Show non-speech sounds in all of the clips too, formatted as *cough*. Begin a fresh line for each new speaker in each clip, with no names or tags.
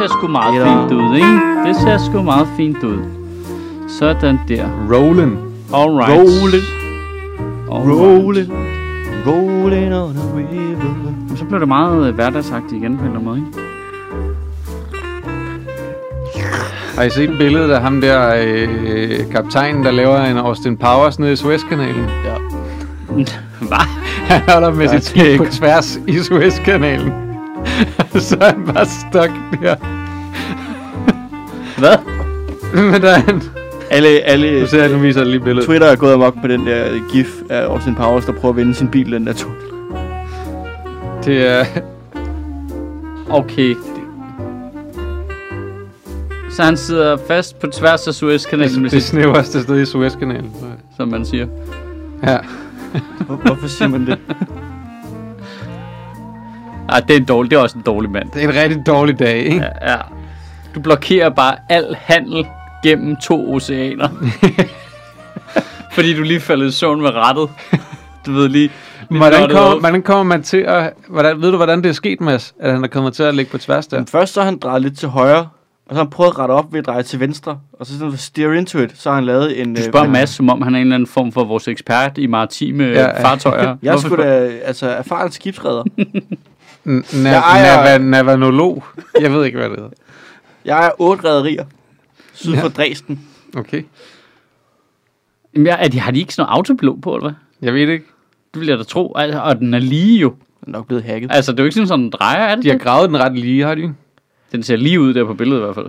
ser sgu meget
Ja.
fint ud, ikke? Det ser sgu meget fint ud. Sådan der.
Rolling.
Alright.
Rolle.
Alright.
Rolling. Rolling on a river.
Så blev det meget øh, hverdagsagtigt igen på en eller anden måde, ikke?
Har I set billedet af ham der, øh, øh, kaptajnen, der laver en Austin Powers nede i Suezkanalen?
Ja.
Hvad?
Han holder med sit
det er
skib på tværs i Suezkanalen. så er han bare stok der.
Hvad?
Men der er han...
Alle, alle
Nu ser jeg, nu viser jeg lige billedet.
Twitter er gået amok på den der gif af Austin Powers, der prøver at vinde sin bil den der tur.
Det er...
Okay. Så han sidder fast på tværs af Suezkanalen,
Det,
hvis
det
ikke-
snæverste sted i Suezkanalen.
som man siger.
Ja.
Hvor, hvorfor siger man det?
Ah, det er, en dårlig, det er også en dårlig mand.
Det er en rigtig dårlig dag, ikke? Ja.
Ja. Du blokerer bare al handel gennem to oceaner. Fordi du lige faldet i søvn med rettet. Du ved lige... lige
Hvordan,
blottet
kommer,
op.
hvordan kommer man til at... Hvordan, ved du, hvordan det er sket, Mads? At han er kommet til at ligge på tværs der?
Men først så har han drejet lidt til højre, og så har han prøvet at rette op ved at dreje til venstre, og så sådan noget steer into it, så har han lavet en...
Du
øh,
spørger Mads, som om han er en eller anden form for vores ekspert i maritime ja,
ja.
ja. fartøjer.
Jeg er
Hvorfor
sgu da altså, erfaren skibsredder.
N-
Jeg
nav-
ejer-
nav- navanolog? Jeg ved ikke, hvad det hedder.
Jeg er otte rædderier, syd for Dresden.
Okay.
Jamen, er de, har de ikke sådan noget autoblå på, eller hvad?
Jeg ved ikke.
Det vil jeg da tro. Altså, og den er lige jo.
Den er nok blevet hacket.
Altså, det er jo ikke sådan, sådan den drejer, er det
De har
det?
gravet den ret lige, har de?
Den ser lige ud der på billedet i hvert fald.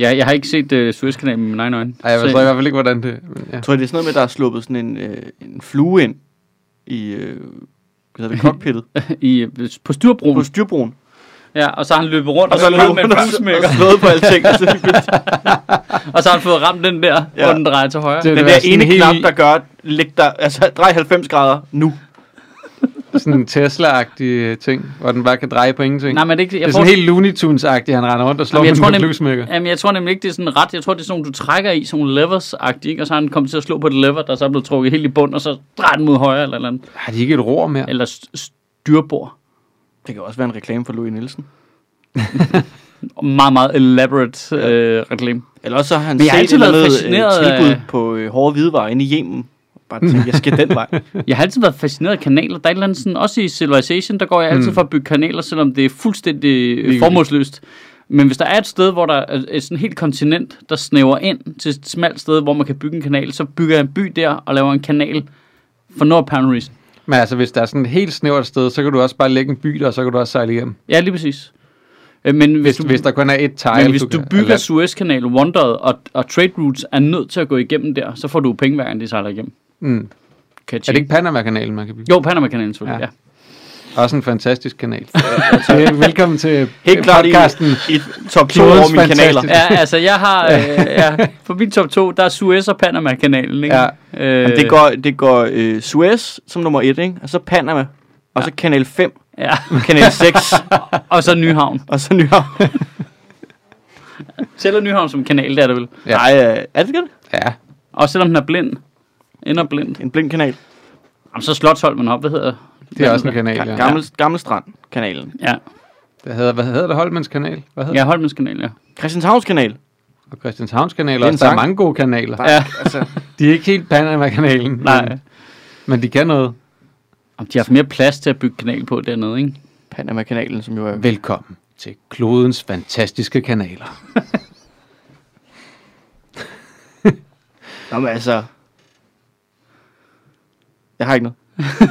Ja, jeg har ikke set uh, Suezkanalen med mine egne øjne.
Ej, jeg
Så-
forstår i hvert fald ikke, hvordan det... Men ja.
Jeg tror, det er sådan noget med, at der er sluppet sådan en, øh, en flue ind i øh, hvad hedder det, cockpittet
i, øh, på styrbroen.
på styrbroen.
Ja, og så har han løbet rundt
Og så løb
ramt med
han
en
og, og
fluesmækker.
slået på alting. Og så begyndte-
og så har han fået ramt den der, ja.
Ja.
hvor den drejer til højre.
Det
den
vil være
der
sådan
ene
helt-
knap, der gør, læg der, altså drej 90 grader nu.
Sådan en Tesla-agtig øh, ting, hvor den bare kan dreje på ingenting.
Nej, men det er ikke
det
jeg,
er
får,
sådan helt Looney Tunes-agtigt, han render rundt og slår
Jamen, jeg tror
med en
nem-
bluesmækker.
jamen, jeg tror nemlig ikke, det er sådan ret. Jeg tror, det er sådan, nogle, du trækker i, sådan nogle levers-agtigt, ikke? Og så har han kommet til at slå på et lever, der så er blevet trukket helt i bund, og så drejer den mod højre eller et eller andet.
Har de ikke et ror mere?
Eller st- styrbord.
Det kan også være en reklame for Louis Nielsen.
Og Meget, meget elaborate øh, reklame.
Eller også så har han
Men jeg har
set
altid
et
været
eller andet
fascineret
øh, tilbud
af-
på øh, hårde hvidevarer inde i Yemen. Bare tænkte, jeg skal den vej.
Jeg har altid været fascineret af kanaler. Der er et eller andet sådan, også i Civilization, der går jeg altid for at bygge kanaler, selvom det er fuldstændig øh, formålsløst. Men hvis der er et sted, hvor der er et sådan helt kontinent, der snæver ind til et smalt sted, hvor man kan bygge en kanal, så bygger jeg en by der og laver en kanal for no apparent reason.
Men altså, hvis der er sådan et helt snævert sted, så kan du også bare lægge en by der, og så kan du også sejle hjem.
Ja, lige præcis. Øh, Men hvis,
Hvis,
du,
hvis der kun er et tegl,
men hvis du
kan-
bygger
eller-
Suezkanal, Wonderet og, og Trade Routes er nødt til at gå igennem der, så får du penge hver gang, de sejler igennem.
Mm.
Kan
Er det ikke Panama-kanalen, man kan bygge?
Jo, Panama-kanalen selvfølgelig,
Ja.
ja.
Også en fantastisk
*laughs*
kanal. Vel- Velkommen til
Helt klart i,
podcasten.
i top 2
Klodens
over mine kanaler.
fantastiske-
Ja, altså jeg
*laughs*
har, øh, ja, på min top 2, der er Suez og Panama-kanalen, ikke?
Ja.
Øh, Jamen,
Det går, det går øh, Suez som nummer 1, ikke? og så Panama, og så kanal 5,
Ja,
kanal 6,
og så Nyhavn.
og så Nyhavn.
Tæller Nyhavn som kanal, det er det vel.
Ja.
Ja. Nej, øh, er det det?
Ja,
Og selvom den er blind, ender blind,
En blind kanal.
jamen, så Slottholmen op, hvad hedder
det er også en
kanal.
kanal,
Ga-
ja.
Gammel, gammel Strand kanalen.
Ja,
Det hedder, hvad hedder det? Holmens kanal? Hvad hedder
ja Holmens kanal, ja.
Christianshavns kanal.
det? Og Christianshavns kanal
er en
også. Der er
sang.
mange gode kanaler.
Ja,
*laughs* Altså,
De er ikke helt Panama-kanalen. men-
nej.
Men de kan noget.
Jamen, de har haft mere plads til at bygge kanal på dernede, ikke?
Panama-kanalen, som jo er...
Velkommen til klodens fantastiske kanaler.
Nå, men altså... Jeg har ikke noget.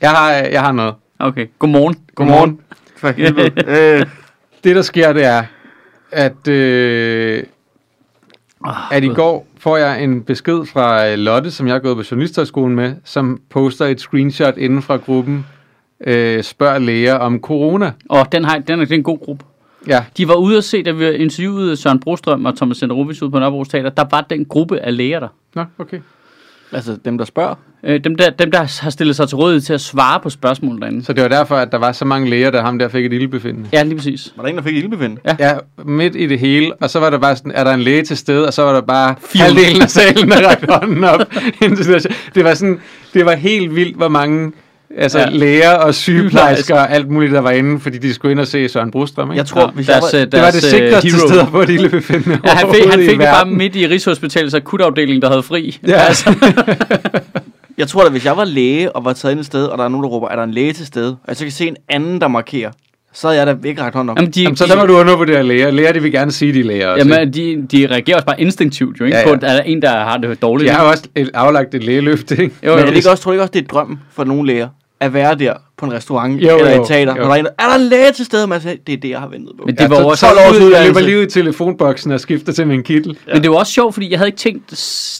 Jeg har, jeg har noget.
Okay, godmorgen.
Godmorgen.
For helvede. øh,
Det, der sker, det er, at, øh, at i går får jeg en besked fra øh, Lotte, som jeg er gået på journalisterskolen med, som poster et screenshot inden fra gruppen, øh, spørg læger om corona.
Og den, har, den, er, det er en god gruppe.
Ja,
De var ude at se, da vi interviewede Søren Brostrøm og Thomas Senderovic ude på Nørrebro's Teater, der var den gruppe af læger der.
nå, okay.
*laughs* altså, dem der spørger.
Øh, dem, der, dem, der har stillet sig til rådighed til at svare på spørgsmål derinde.
Så det var derfor, at der var så mange læger, der ham der fik et ildbefindende.
Ja, lige præcis.
Var der en, der fik et ildbefinde? Ja.
Ja, midt i det hele, og så var der bare sådan, er der en læge til stede, og så var der bare
400.
*laughs* halvdelen af salen, der rakte hånden op. indtil det var- det var sådan, det var helt vildt, hvor mange Altså
Ja.
ja. læger og sygeplejersker og alt muligt, der var inde, fordi de skulle ind og se Søren Brostrøm, ikke?
Jeg tror, hvis jeg
Deres,
var...
øh,
det var det
deres, øh,
sikreste
hero.
sted at få et ildebefindende
Ja, han fik, han
overhovedet i
fik det bare Altså,
verden.
midt i Rigshospitalets akutafdeling, der havde fri. *laughs*
Ja.
Jeg tror da, hvis jeg var læge og var taget ind et sted, og der er nogen, der råber, er der en læge til stede, og jeg så kan se en anden, der markerer, så havde jeg da ikke rækket hånd op.
Jamen, de,
Jamen, så
de,
der må du undervurdere læger. Læger, de vil gerne sige, de er læger også. ikke?
jamen, de, de reagerer også bare instinktivt, jo ikke?
Ja,
Ja,
ja.
ja. På, at der er en, der har det dårligt.
de har jo også et, aflagt et lægeløfte, ikke?
Jo,
Men
jo,
er det
det,
ikke også, tror du ikke også, det er drømmen for nogle læger, at være der på en restaurant
Jo,
jo, eller
jo,
et teater,
jo.
jo. når der er en, er der en læge til stede? Man siger, det er det, jeg har ventet på.
men
Ja,
det var
så
jo også...
12
års
år ud, jeg
uddannelse.
løber lige ud i telefonboksen og skifter til min kittel.
Men det var også sjovt, fordi jeg havde ikke tænkt,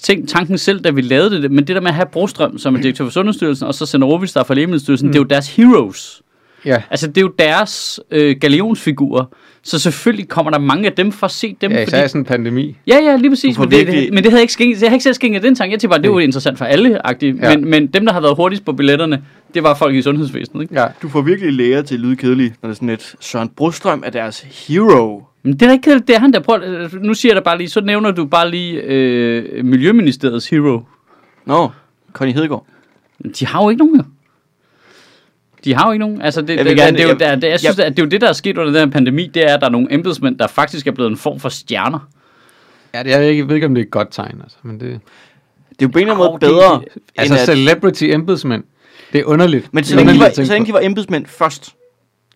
tænkt tanken selv, da vi lavede det, men det der med at have Brostrøm som er direktør for Sundhedsstyrelsen, og så Sender Rovis, der er fra Lægemiddelstyrelsen, mm. det er jo deres heroes.
Ja.
Altså, det er jo deres øh, galionsfigurer. Så selvfølgelig kommer der mange af dem for at se dem.
Ja, især i sådan en pandemi.
ja, ja, lige præcis.
Du får
Men det,
virkelig-
det, men det havde jeg ikke skænket, jeg havde ikke selv skænket den tanke. Jeg tænkte bare, det var interessant for alle,
Ja.
ja. men, men dem, der har været hurtigst på billetterne, det var folk i sundhedsvæsenet. Ikke?
Ja.
Du får virkelig læger til at lyde kedelige, når det er sådan et Søren Brostrøm er deres hero.
Men det er da ikke kedeligt, det er han, der prøver. Nu siger jeg da bare lige, så nævner du bare lige øh, Miljøministeriets hero.
Nå, Connie Hedegaard.
De har jo ikke nogen, jo. De har jo ikke nogen. Altså, det,
Jeg
det,
vil
det,
gerne-
det, er jo,
jeg-
der, det, jeg synes, at det er jo det, der er sket under den her pandemi, det er, at der er nogle embedsmænd, der faktisk er blevet en form for stjerner.
ja det, jeg ved ikke, jeg ved ikke, om det er et godt tegn, altså. Men det,
Det er jo på en eller anden
Au,
måde bedre,
det-
end
altså,
at...
celebrity embedsmænd. Det er underligt.
Men så
Det er
længe, de
underligt
var,
at tænke
så længe de var embedsmænd først,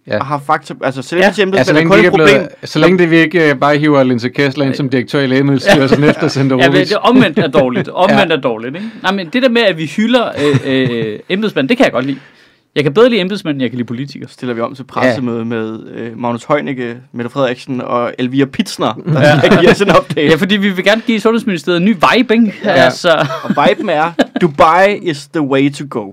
Ja.
ja. og har fakta... Altså, celebrity ja.
på.
embedsmænd
Ja, så
er
længe,
kun
de
et
ikke er
problem.
blevet, så længe det vi ikke øh, bare hiver Linse Kessler ind som direktør i Lægemiddelstyrelsen efter Sender
Ja, men
Rovis.
det omvendt er dårligt. Omvendt er dårligt, ikke? Nej, men det der med, at vi hylder øh, øh, embedsmænd, det kan jeg godt lide. Jeg kan bedre lide embedsmænd, end jeg kan lide politikere.
stiller vi om til pressemøde ja. med øh, Magnus Heunicke, Mette Frederiksen og Elvira Pitsner, der ja. giver sådan en update.
Ja, fordi vi vil gerne give Sundhedsministeriet en ny vibe, ikke? Ja. Altså,
Og viben er, Dubai is the way to go.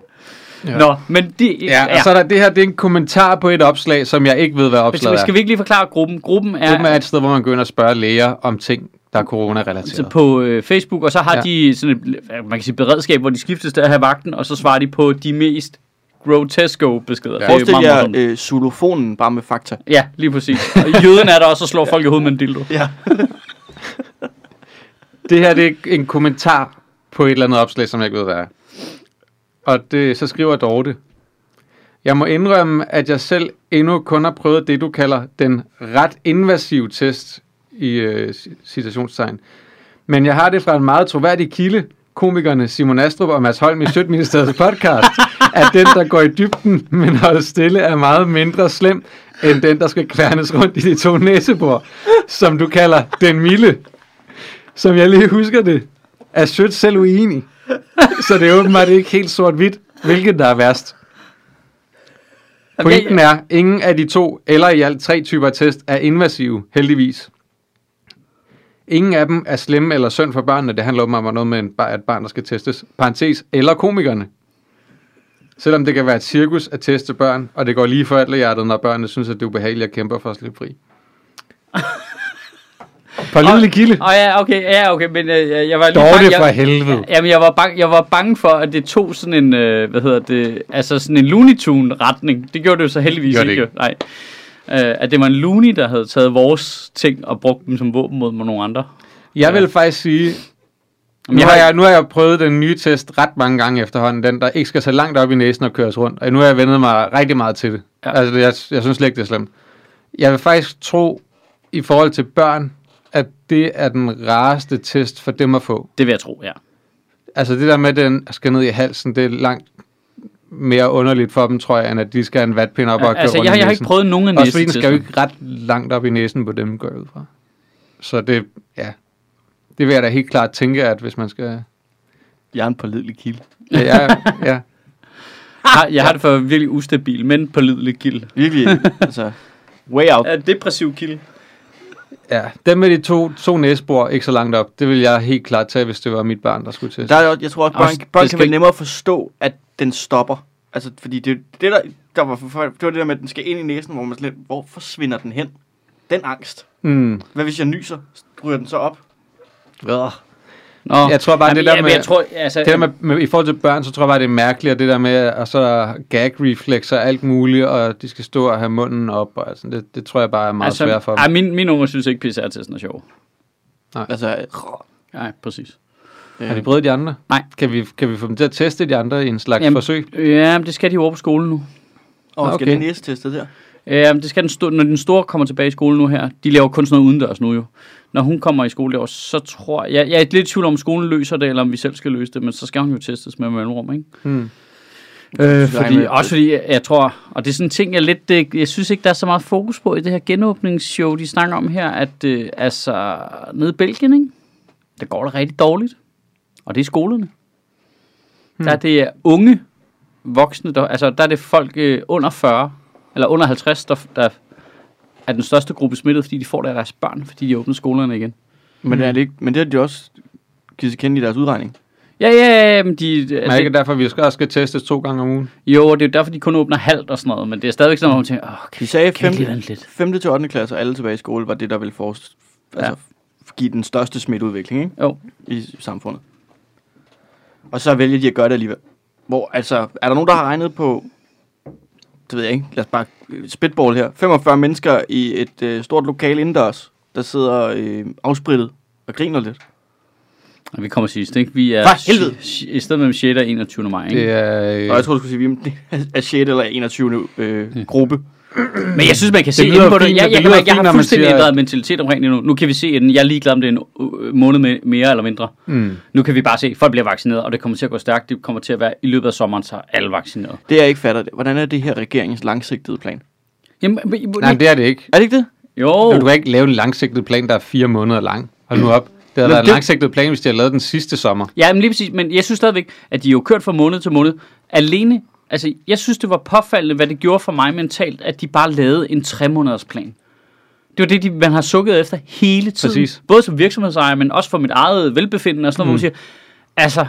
ja. Nå, men de,
Ja, og så er der, det her det er en kommentar på et opslag, som jeg ikke ved, hvad
skal,
opslaget er.
skal vi ikke lige forklare gruppen? Gruppen er,
Gruppen er et sted, hvor man går ind og spørger læger om ting, der er corona-relateret.
Så på øh, Facebook, og så har
Ja.
ja. de sådan et, øh, man kan sige, beredskab, hvor de skiftes til at have vagten, og så svarer de på de mest grotesco beskeder.
Ja.
Det er
Forestil
meget
jer
morsomt.
øh, solofonen bare med fakta.
Ja, lige præcis. Og jøden er der også og slår folk i hovedet med en dildo.
Ja.
Det her det er en kommentar på et eller andet opslag, som jeg ikke ved, hvad er. Og det, så skriver Dorte. Jeg må indrømme, at jeg selv endnu kun har prøvet det, du kalder den ret invasive test i øh, ci- citationstegn. Men jeg har det fra en meget troværdig kilde, komikerne Simon Astrup og Mads Holm i Sødministeriets podcast, at den, der går i dybden, men holder stille, er meget mindre slem, end den, der skal kværnes rundt i de to næsebor, som du kalder den milde som jeg lige husker det, er Sødt selv uenig. Så det er åbenbart ikke helt sort-hvidt, hvilket der er værst. Pointen er, ingen af de to eller i alt tre typer test er invasive, heldigvis. Ingen af dem er slemme eller synd for børnene. Det handler åbenbart om noget med en, bar- et barn, der skal testes. Parentes. Eller komikerne. Selvom det kan være et cirkus at teste børn, og det går lige for alt hjertet, når børnene synes, at det er ubehageligt at kæmpe for at slippe fri. Pålidelig kilde.
Åh ja, okay, ja, okay, men øh, jeg, jeg var lige
Dorte for
jeg,
helvede.
Jamen, jeg var, bange, jeg var bange for, at det tog sådan en, øh, hvad hedder det, altså sådan en Looney Tune-retning. Det gjorde det jo så heldigvis
Gjorde
ikke.
det
ikke. Nej. Øh, at det var en Looney, der havde taget vores ting og brugt dem som våben mod nogle andre.
Jeg vil faktisk sige, nu
jeg
har
har-
jeg, nu har jeg prøvet den nye test ret mange gange efterhånden, den der ikke skal så langt op i næsen og køres rundt, og nu har jeg vendet mig rigtig meget til det. Ja.
Ja.
Altså, det- jeg, jeg synes slet ikke, det er slemt. Jeg vil faktisk tro, i forhold til børn, at det er den rareste test for dem at få.
Det vil jeg tro, ja.
Altså det der med, at den skal ned i halsen, det er langt mere underligt for dem, tror jeg, end at de skal have en vatpind op og køre
altså,
rundt
jeg,
i
jeg har ikke
næsen.
prøvet nogen af
Også fordi den skal jo
næsetesten.
ikke ret langt op i næsen på dem, går jeg ud fra. Så det, ja. Det vil jeg da helt klart tænke, at hvis man skal...
Jeg er en pålidelig kilde.
Ja, ja, ja.
har,
Ah!
jeg har det for virkelig ustabil, men pålidelig kilde. *laughs*
Virkelig, altså, way out.
Ja, depressiv kilde.
ja. Dem med de to, to næsbor ikke så langt op, det vil jeg helt klart tage, hvis det var mit barn, der skulle til.
Der er, jo- jeg tror også,
Også-
børn,
det
børn kan
skal
være
ikke-
nemmere at forstå, at den stopper. Altså, fordi det, det der, der var for, for- det var det der med, at den skal ind i næsen, hvor man slet, hvor forsvinder den hen? Den angst.
Mm.
Hvad hvis jeg nyser? Ryger den så op?
Nå,
Jeg tror bare, det der
ja, men
med-
Jeg tror, altså,
Det der med, med, I forhold til børn, så tror jeg bare, det er mærkeligt, og det der med, at så er der gag-reflekser og alt muligt, og de skal stå og have munden op, og sådan, det, det tror jeg bare er meget altså, svært for dem.
Ej, min, min unger synes ikke, PCR-testen er sjov.
Altså,
Nej, præcis.
Har de prøvet de andre?
Nej.
Kan vi, kan vi få dem til at teste de andre i en slags
Jamen,
forsøg?
Ja, men det skal de jo over på skolen nu.
Og okay.
Okay.
skal den næste teste der?
Ja, men Øhm, det skal den store, når den store kommer tilbage i skole nu her. De laver kun sådan noget udendørs nu jo. Når hun kommer i skole i år, så tror jeg... Jeg, jeg er lidt i tvivl om, om skolen løser det, eller om vi selv skal løse det, men så skal hun jo testes med mellemrum, ikke?
Hmm.
Øh, fordi,
med-
også fordi, jeg, jeg tror, og det er sådan en ting, jeg lidt, øh, jeg synes ikke, der er så meget fokus på i det her genåbningsshow, de snakker om her, at øh, altså, nede i Belgien, ikke? der går det rigtig dårligt. Og det er skolerne. Hmm. Der er det øh, unge voksne, der, altså der er det folk øh, under 40, eller under 50, der, der er den største gruppe smittet, fordi de får det af deres børn, fordi de åbner skolerne igen.
Men, er det ikke, men det har de også givet sig kende i deres udregning.
Ja, ja, ja, men de... altså,
Men er ikke derfor, vi skal, også skal testes to gange om ugen?
jo, og det er jo derfor, de kun åbner halvt og sådan noget, men det er stadigvæk sådan, at man tænker, åh, kan,
De sagde,
kan vi lige
5.
vente lidt?
5. til 8. klasse og alle tilbage i skole var det, der ville for, altså,
Ja.
give den største smitteudvikling ikke?
Jo,
i samfundet. Og så vælger de at gøre det alligevel. Hvor, altså, er der nogen, der har regnet på, det ved jeg ikke, lad os bare øh, spitball her, 45 mennesker i et øh, stort lokal indendørs, der sidder øh, afsprittet og griner lidt.
Og vi kommer sidst, ikke? Vi er
For helvede!
si- si- i stedet mellem 6. og 21. maj, ikke?
Det er,
Og
øh,
jeg tror, du skulle sige, at vi er- er 6. eller 21. Øh, gruppe.
Men jeg synes, man kan se
lyder
ind på det.
fint,
Jeg, jeg,
det
jeg,
lyder
jeg, jeg
fint,
har
når man
fuldstændig
siger, at-
ændret mentalitet omkring det nu. Nu kan vi se inden. Jeg er ligeglad, om det er en øh, måned med- mere eller mindre.
mm,
Nu kan vi bare se, at folk bliver vaccineret, og det kommer til at gå stærkt. Det kommer til at være i løbet af sommeren, så er alle vaccineret.
Det jeg ikke fatter, det- hvordan er det her regeringens langsigtede plan?
Jamen, men,
nej, men det er det ikke.
Er det ikke det?
jo,
Du kan ikke lave en langsigtet plan, der er fire måneder lang. Hold
Mm.
nu op. Det havde
Men
været en
det-
langsigtet plan, hvis de havde lavet den sidste sommer.
Ja, men lige præcis, men jeg synes stadigvæk, at de er jo kørt fra måned til måned. Alene, altså jeg synes, det var påfaldende, hvad det gjorde for mig mentalt, at de bare lavede en tre måneders plan. Det var det, de, man har sukket efter hele tiden.
Præcis.
Både som virksomhedsejer, men også for mit eget velbefindende og sådan noget, mm. hvor man siger, altså,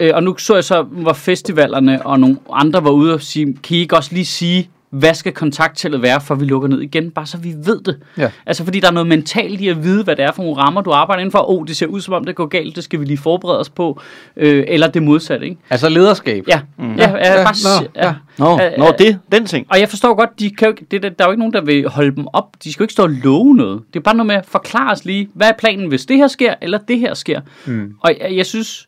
øh, og nu så jeg så, hvor festivalerne og nogle andre var ude og sige, kan I ikke også lige sige, hvad skal kontakttallet være, for vi lukker ned igen, bare så vi ved det.
Ja.
Altså, fordi der er noget mentalt i at vide, hvad det er for nogle rammer, du arbejder indenfor. Åh, oh, det ser ud som om, det går galt, det skal vi lige forberede os på. Øh, eller det modsatte, ikke?
Altså lederskab.
Ja, mm. ja, ja,
Ja,
ja, bare,
nå,
no, ja.
ja.
ja.
Nå,
Øh,
Nå
øh,
det, den ting.
Og jeg forstår godt, de kan jo, ikke- det, der, der er jo ikke nogen, der vil holde dem op. De skal jo ikke stå og love noget. Det er bare noget med at forklare os lige, hvad er planen, hvis det her sker, eller det her sker. Mm. Og jeg, jeg synes,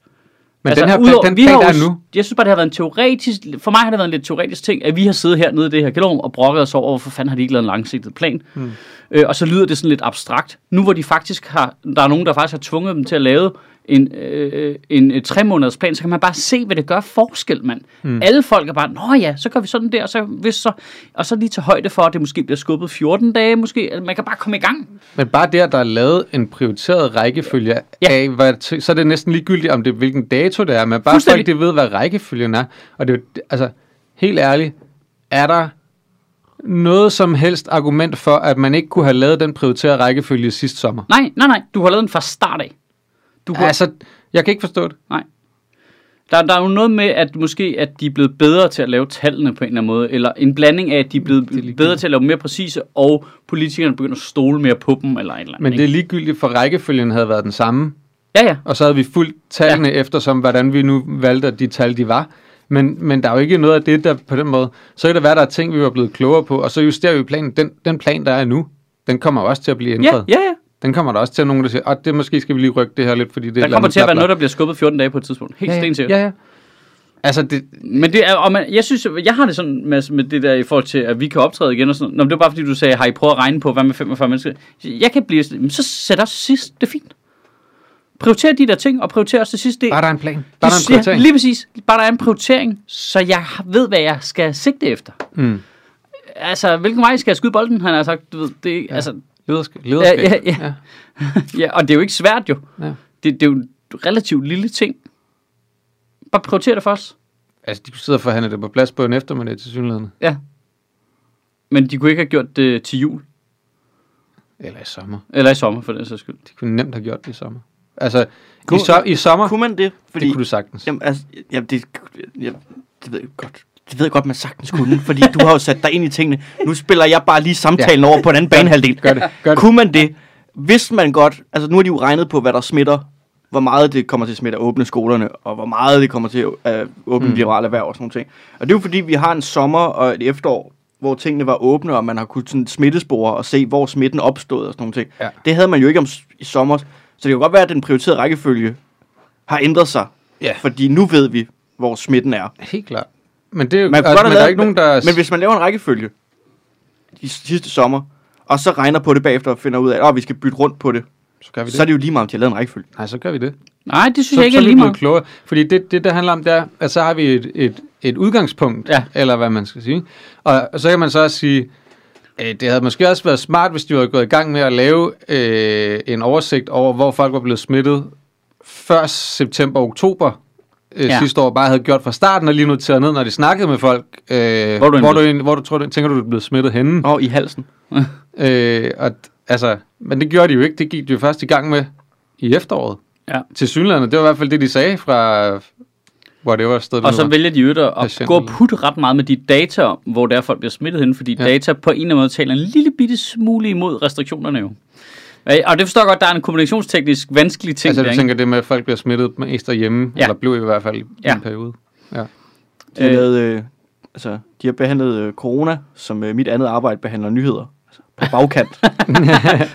Men den her plan, den
Altså, vi har
plan, der
jo-
er nu,
Jeg synes bare, det har været en teoretisk... For mig har det været en lidt teoretisk ting, at vi har siddet hernede i det her kælderrum og brokket os over, hvorfor fanden har de ikke lavet en langsigtet plan?
Hmm.
Mm. Øh, og så lyder det sådan lidt abstrakt. Nu hvor de faktisk har... Der er nogen, der faktisk har tvunget dem til at lave en, øh, en, en tre måneders plan, så kan man bare se, hvad det gør forskel, mand.
Hmm.
Mm. Alle folk er bare, nå ja, så gør vi sådan der, og så, hvis så, og så lige tage højde for, at det måske bliver skubbet 14 dage, måske. Altså, Man kan bare komme i gang.
men bare der, der er lavet en prioriteret rækkefølge ja.
Ja.
af, hvad, t- så er det næsten ligegyldigt, om det hvilken dato det er, men bare folk
Fuldstændig.
de ved, hvad rækkefølgen er. Og det er jo, det- altså, helt ærligt, er der noget som helst argument for, at man ikke kunne have lavet den prioriterede rækkefølge sidste sommer?
Nej, nej, nej, du har lavet den fra start af. Du kunne-
Altså, jeg kan ikke forstå det.
Nej. Der, der er jo noget med, at måske at de er blevet bedre til at lave tallene på en eller anden måde, eller en blanding af, at de er blevet bedre til at lave mere præcise, og politikerne begynder at stole mere på dem, eller et eller andet.
Men det er
ikke?
ligegyldigt, for rækkefølgen havde været den samme.
Ja, ja.
Og så havde vi fulgt tallene ja. efter, som hvordan vi nu valgte, at de tal de var. Men, men der er jo ikke noget af det, der på den måde... Så kan det være, der er ting, vi var blevet klogere på, og så justerer vi planen. Den, den plan, der er nu, den kommer jo også til at blive
Ja,
ændret.
ja, ja.
Den kommer der også til at nogen, der siger, at det måske skal vi lige rykke det her lidt, fordi det er et
Der
eller
kommer
andet
til at være
bla, bla."
noget, der bliver skubbet 14 dage på et tidspunkt. Helt ja, stensikkert.
ja, ja, ja. Altså, det,
Men det er, og man, jeg synes, jeg har det sådan med, med det der i forhold til, at vi kan optræde igen og sådan noget. Nå, men det var bare fordi, du sagde, har I prøvet at regne på, hvad med 45 mennesker? Jeg kan blive sådan, "Men så sæt os sidst, det er fint. Prioriter de der ting, og prioriter også det sidste. Det
bare der er en plan. Bare der er en
Ja,
prioritering.
lige præcis. Bare der er en prioritering, så jeg ved, hvad jeg skal sigte efter.
Mm.
Altså, hvilken vej skal jeg skyde bolden, han har sagt. Du ved, det, ja. Altså,
Lederskab. lederskab.
Ja, ja, ja. ja, og det er jo ikke svært jo.
Ja.
Det, det er jo en relativt lille ting. Bare prioritere det for os.
Altså, de sidder og forhandler det på plads på en eftermiddag til synligheden.
Ja. Men de kunne ikke have gjort det til jul,
Eller i sommer.
eller i sommer for den sags skyld.
De kunne nemt have gjort det i sommer. Altså, i,
Kunne-
so- i sommer,
Kunne man det? Fordi,
det kunne du sagtens.
Jamen, altså, jamen det, jeg, det ved jeg godt. Det ved jeg godt, man sagtens kunne, fordi du har jo sat dig ind i tingene. Nu spiller jeg bare lige samtalen over på en anden banehalvdel.
Gør det, gør det.
Kunne man det? Hvis man godt, altså nu har de jo regnet på, hvad der smitter, hvor meget det kommer til at smitte at åbne skolerne, og hvor meget det kommer til at øh, åbne mm. liberale erhverv og sådan noget ting. Og det er jo fordi, vi har en sommer og et efterår, hvor tingene var åbne, og man har kunnet sådan smittespore og se, hvor smitten opstod og sådan noget ting.
Ja.
Det havde man jo ikke om s- i sommer. Så det kan godt være, at den prioriterede rækkefølge har ændret sig.
Ja.
Fordi nu ved vi, hvor smitten er.
Helt klart. Men det er jo,
Man
man
kunne godt
men
have
der er
lavet-
ikke nogen, der...
Men hvis man laver en rækkefølge i sidste sommer, og så regner på det bagefter og finder ud af, at oh, vi skal bytte rundt på det,
så gør vi det.
så er det jo lige meget, om de har lavet en rækkefølge.
Nej, så gør vi det.
Nej, det synes
så,
jeg ikke
så
er
er vi
lige
blevet
meget.
klogere. Fordi det, det, det handler om, det er, at så har vi et, et, et udgangspunkt,
Ja.
eller hvad man skal sige. Og, og så kan man så også sige, øh, det havde måske også været smart, hvis de var gået i gang med at lave øh, en oversigt over, hvor folk var blevet smittet før september-oktober øh,
Ja.
ja. sidste år, bare havde gjort fra starten og lige noteret ned, når de snakkede med folk. Øh,
Hvor er du
hvor, du,
egentlig-
egentlig- hvor du tror, du, tænker du, du er blevet smittet henne?
Nå, i halsen.
Øh, og, d- altså, men det gjorde de jo ikke. Det gik de jo først i gang med i efteråret.
Ja.
Til synlande. Det var i hvert fald det, de sagde fra whatever sted det
Og
nu
så
var.
vælger de i øvrigt at
Patient-
gå og putte ret meget med de data om, hvor der folk bliver smittet hen, fordi ja.
Ja.
data på en eller anden måde taler en lille bitte smule imod restriktionerne jo. Øh, Og det forstår jeg godt, der er en kommunikationsteknisk vanskelig ting
Altså,
der,
du
ikke?
tænker det med, at folk bliver smittet mest derhjemme,
Ja.
ja. eller blev i hvert fald i
Ja.
en periode.
De har,
Øh.
lavet, øh, altså, de har behandlet øh, corona, som øh, mit andet arbejde behandler nyheder. Altså, på *laughs* bagkant.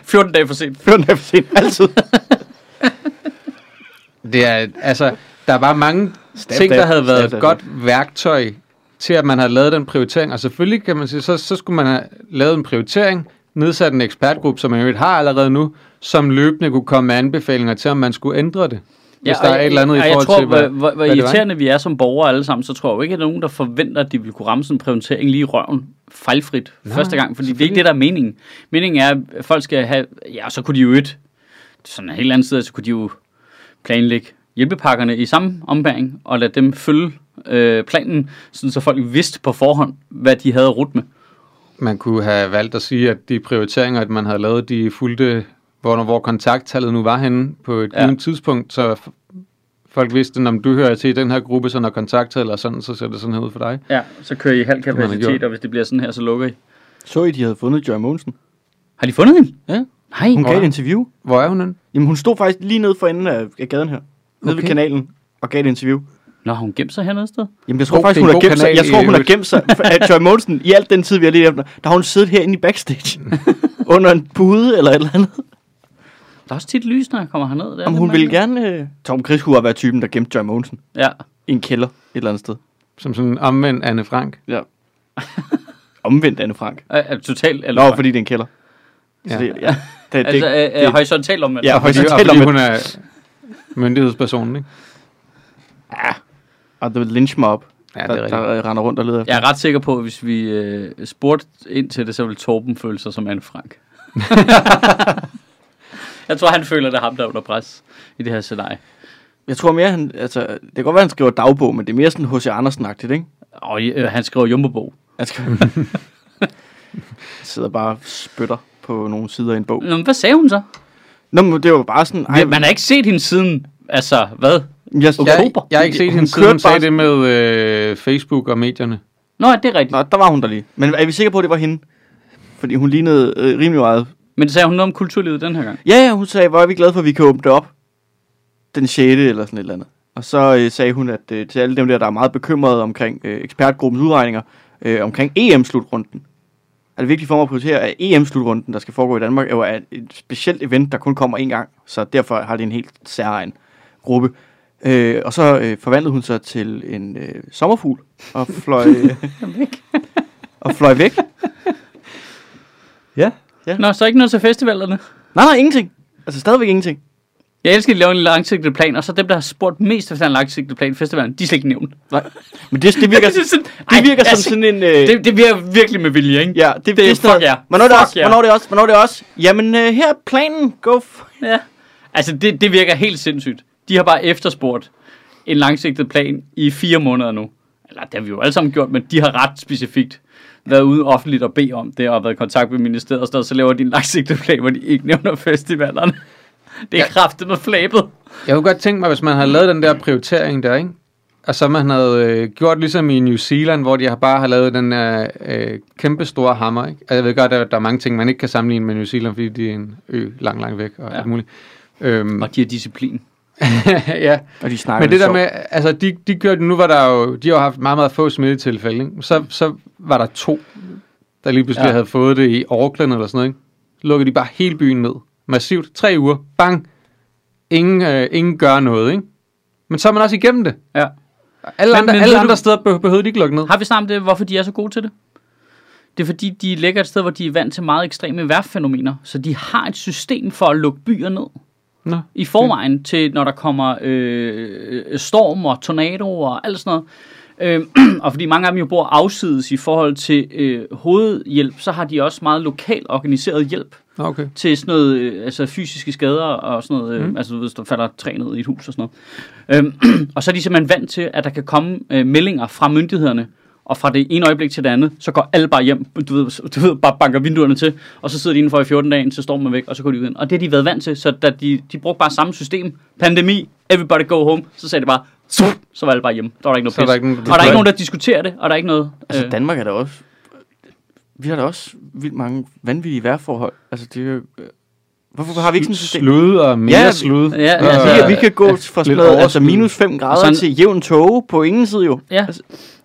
14 dage for sent.
Før den er for sent. Altid.
Det er, altså, der var mange
Stab
ting,
that,
der havde været
stab
et
that.
godt værktøj til, at man havde lavet den prioritering. Og selvfølgelig kan man sige, så, så skulle man have lavet en prioritering, nedsat en ekspertgruppe, som man jo har allerede nu, som løbende kunne komme med anbefalinger til, om man skulle ændre det. Hvis der
og
er et eller andet i
og jeg
forhold
tror,
til,
hvor,
hvad,
hvor, hvor
det var,
irriterende vi er som borgere alle sammen, så tror jeg jo ikke, at nogen, der forventer, at de vil kunne ramme sådan en præsentering lige i røven fejlfrit Nej,
Nej,
første gang, fordi det er ikke
selvfølgelig.
det, der er meningen. Meningen er, at folk skal have, ja, så kunne de jo et, sådan en helt anden side, så kunne de jo planlægge hjælpepakkerne i samme ombæring, og lade dem følge øh, planen, sådan så folk vidste på forhånd, hvad de havde rundt med.
Man kunne have valgt at sige, at de prioriteringer, at man havde lavet, de fulgte, hvor, hvor kontakttallet nu var henne på et
Ja.
ja. givet tidspunkt, så f- folk vidste, om du hører til i den her gruppe, så når kontakttallet er sådan, så ser det sådan her ud for dig.
Ja, så kører I halv
man have gjort.
kapacitet, og hvis det bliver sådan her, så lukker I.
Så I, de havde fundet Joy Mogensen.
Har de fundet hende?
Ja.
Nej.
Hun gav et
Wow.
interview.
Hvor er hun henne?
Jamen, hun stod faktisk lige nede for enden af af gaden her. Nede okay. ved
Okay.
kanalen og gav et interview.
Nå, har hun gemt sig hernede et sted.
Jamen, jeg tror
God-
faktisk,
det er
hun
en
har
god
gemt sig.
kanal
Jeg
i
tror, hun har
øvrigt. *laughs*
gemt sig. At Joy Mogensen, i al den tid, vi har lige efter, der har hun siddet herinde i
*laughs*
backstage. under en pude eller et eller andet.
Der er også tit lys, når jeg kommer herned. Det er
Om
lidt
hun ville
mærkeligt.
gerne... Øh... Tom Chris kunne have været typen, der gemte Joy Mogensen
Ja.
i en kælder et eller andet sted.
Som sådan en omvendt Anne Frank.
Ja. Omvendt Anne Frank.
Øh, øh, totalt.
Nå,
Eller,
fordi det er en kælder. Ja.
Ja.
Så det, ja. Det, det,
altså, øh, øh,
det-
horisontalt om
ja,
Og fordi, og
horisontalt om
fordi
det.
hun er myndighedspersonen, ikke?
Og det er lynch mob,
Ja, det
der,
er rigtigt.
der øh, render rundt og leder efter.
Jeg er ret sikker på, at hvis vi øh, spurgte ind til det, så ville Torben føle sig som Anne
*laughs*
Frank. jeg tror, han føler, det er ham, der er under pres i det her scenarie.
Jeg tror mere, han, altså, det kan godt være, han skriver dagbog, men det er mere sådan H.C. Andersen-agtigt, ikke?
Og øh, han skriver jumbo
Han skriver... *laughs* sidder bare og spytter på nogle sider i en bog.
Nå, men hvad sagde hun så?
Nå, men det var bare sådan...
Ej, Man har ikke set hende siden, altså, hvad?
jeg,
Jeg,
Oktober.
jeg har ikke set
Hun
hende
kørte
siden, hun sagde
bare-
det med øh, Facebook og medierne.
Nå, det er rigtigt.
Nå, der var hun der lige. Men er vi sikre på, at det var hende? Fordi hun lignede øh, rimelig meget.
Men sagde hun noget om kulturlivet den her gang?
Ja, ja, hun sagde, hvor er vi glade for, at vi kan åbne det op. Den 6. eller sådan et eller andet. Og så øh, sagde hun, at øh, til alle dem der, der er meget bekymrede omkring øh, ekspertgruppens udregninger, øh, omkring EM-slutrunden, er det vigtigt for mig at prioritere, at EM-slutrunden, der skal foregå i Danmark, er jo er et specielt event, der kun kommer én gang, så derfor har det en helt særegen gruppe. Øh, og så øh, forvandlede hun sig til en øh, sommerfugl og fløj, øh, og fløj væk.
Ja.
Nå, så ikke noget til festivalerne.
Nej, nej, ingenting. Altså stadigvæk ingenting.
Jeg elsker, at de laver en langsigtet plan, og så dem, der har spurgt mest efter en langsigtet plan i festivalen, de er slet ikke nævnt.
Nej. Men det,
*laughs*
det virker,
Det er sådan-
det virker
Ej, altså-
som sådan en... Øh,
Det, det virker virkelig med vilje, ikke?
Ja, det,
Det er
det er sådan
fuck
noget.
ja.
Hvornår er det
Fuck
også?
ja.
Hvornår er det også? Hvornår er det også? Jamen, øh, her er planen. Go for...
Ja. Altså, det, det virker helt sindssygt. De har bare efterspurgt en langsigtet plan i fire måneder nu. Eller det har vi jo alle sammen gjort, men de har ret specifikt været ude offentligt og bede om det, og været i kontakt med ministeriet og sådan noget, så laver de en langsigtet plan, hvor de ikke nævner festivalerne. *laughs* Det er ja. kraftet med flabet.
Jeg kunne godt tænke mig, hvis man havde lavet den der prioritering der, ikke? Og så man havde øh, gjort ligesom i New Zealand, hvor de har bare har lavet den der øh, kæmpe store hammer, ikke? Og jeg ved godt, at der er mange ting, man ikke kan sammenligne med New Zealand, fordi det er en ø langt, langt væk og
Ja.
ja. alt muligt. Øhm,
Og de har disciplin.
*laughs* ja.
Og de snakker
Men det der med, altså de, de gjorde det, nu var der jo, de har jo haft meget, meget få smittetilfælde, ikke? Så, så var der to, der lige pludselig
Ja.
ja. havde fået det i Auckland eller sådan noget, ikke? Lukkede de bare hele byen ned. Massivt. Tre uger. Bang. Ingen, øh, ingen gør noget, ikke? Men så er man også igennem det.
Ja.
Alle
Men-
andre,
men
alle
ved du-
andre steder beh- behøvede de ikke lukke ned.
Har vi snakket om det, hvorfor de er så gode til det? Det er fordi, de ligger et sted, hvor de er vant til meget ekstreme vejrfænomener. Så de har et system for at lukke byer ned.
Nå.
I forvejen til, når der kommer øh, øh, storm og tornadoer og alt sådan noget. Øh, *clears throat* og fordi mange af dem jo bor afsides i forhold til øh, hovedhjælp, så har de også meget lokal organiseret hjælp
Nå, okay.
til sådan noget, øh, altså fysiske skader og sådan noget, øh, mm. altså hvis der falder et træ ned i et hus og sådan noget. Øhm, *clears throat* og så er de simpelthen vant til, at der kan komme øh, meldinger fra myndighederne, og fra det ene øjeblik til det andet, så går alle bare hjem, du ved, du ved bare banker vinduerne til, og så sidder de indenfor i 14 dage, så står man væk, og så går de ud igen. Og det har de været vant til, så da de, de brugte bare samme system, pandemi, everybody go home, så sagde det bare, "Tsup", så var alle bare hjemme. Der var der ikke noget
Så er
pis.
der ikke nogen, der
og der er ikke nogen, der diskuterer det, og der er ikke noget...
Altså,
øh,
Danmark er da også... Vi har da også vildt mange vanvittige vejrforhold. Altså, det er jo... øh, Hvorfor har vi ikke sådan et system?
Slud og mere
Ja,
ja, slud.
ja, ja,
Og-
ja.
Vi, kan- vi kan gå
Øh, Lidt
fra sådan noget, altså
overskud.
minus 5 grader
Sådan-
til jævn tåge på ingen side jo.
ja.
Altså-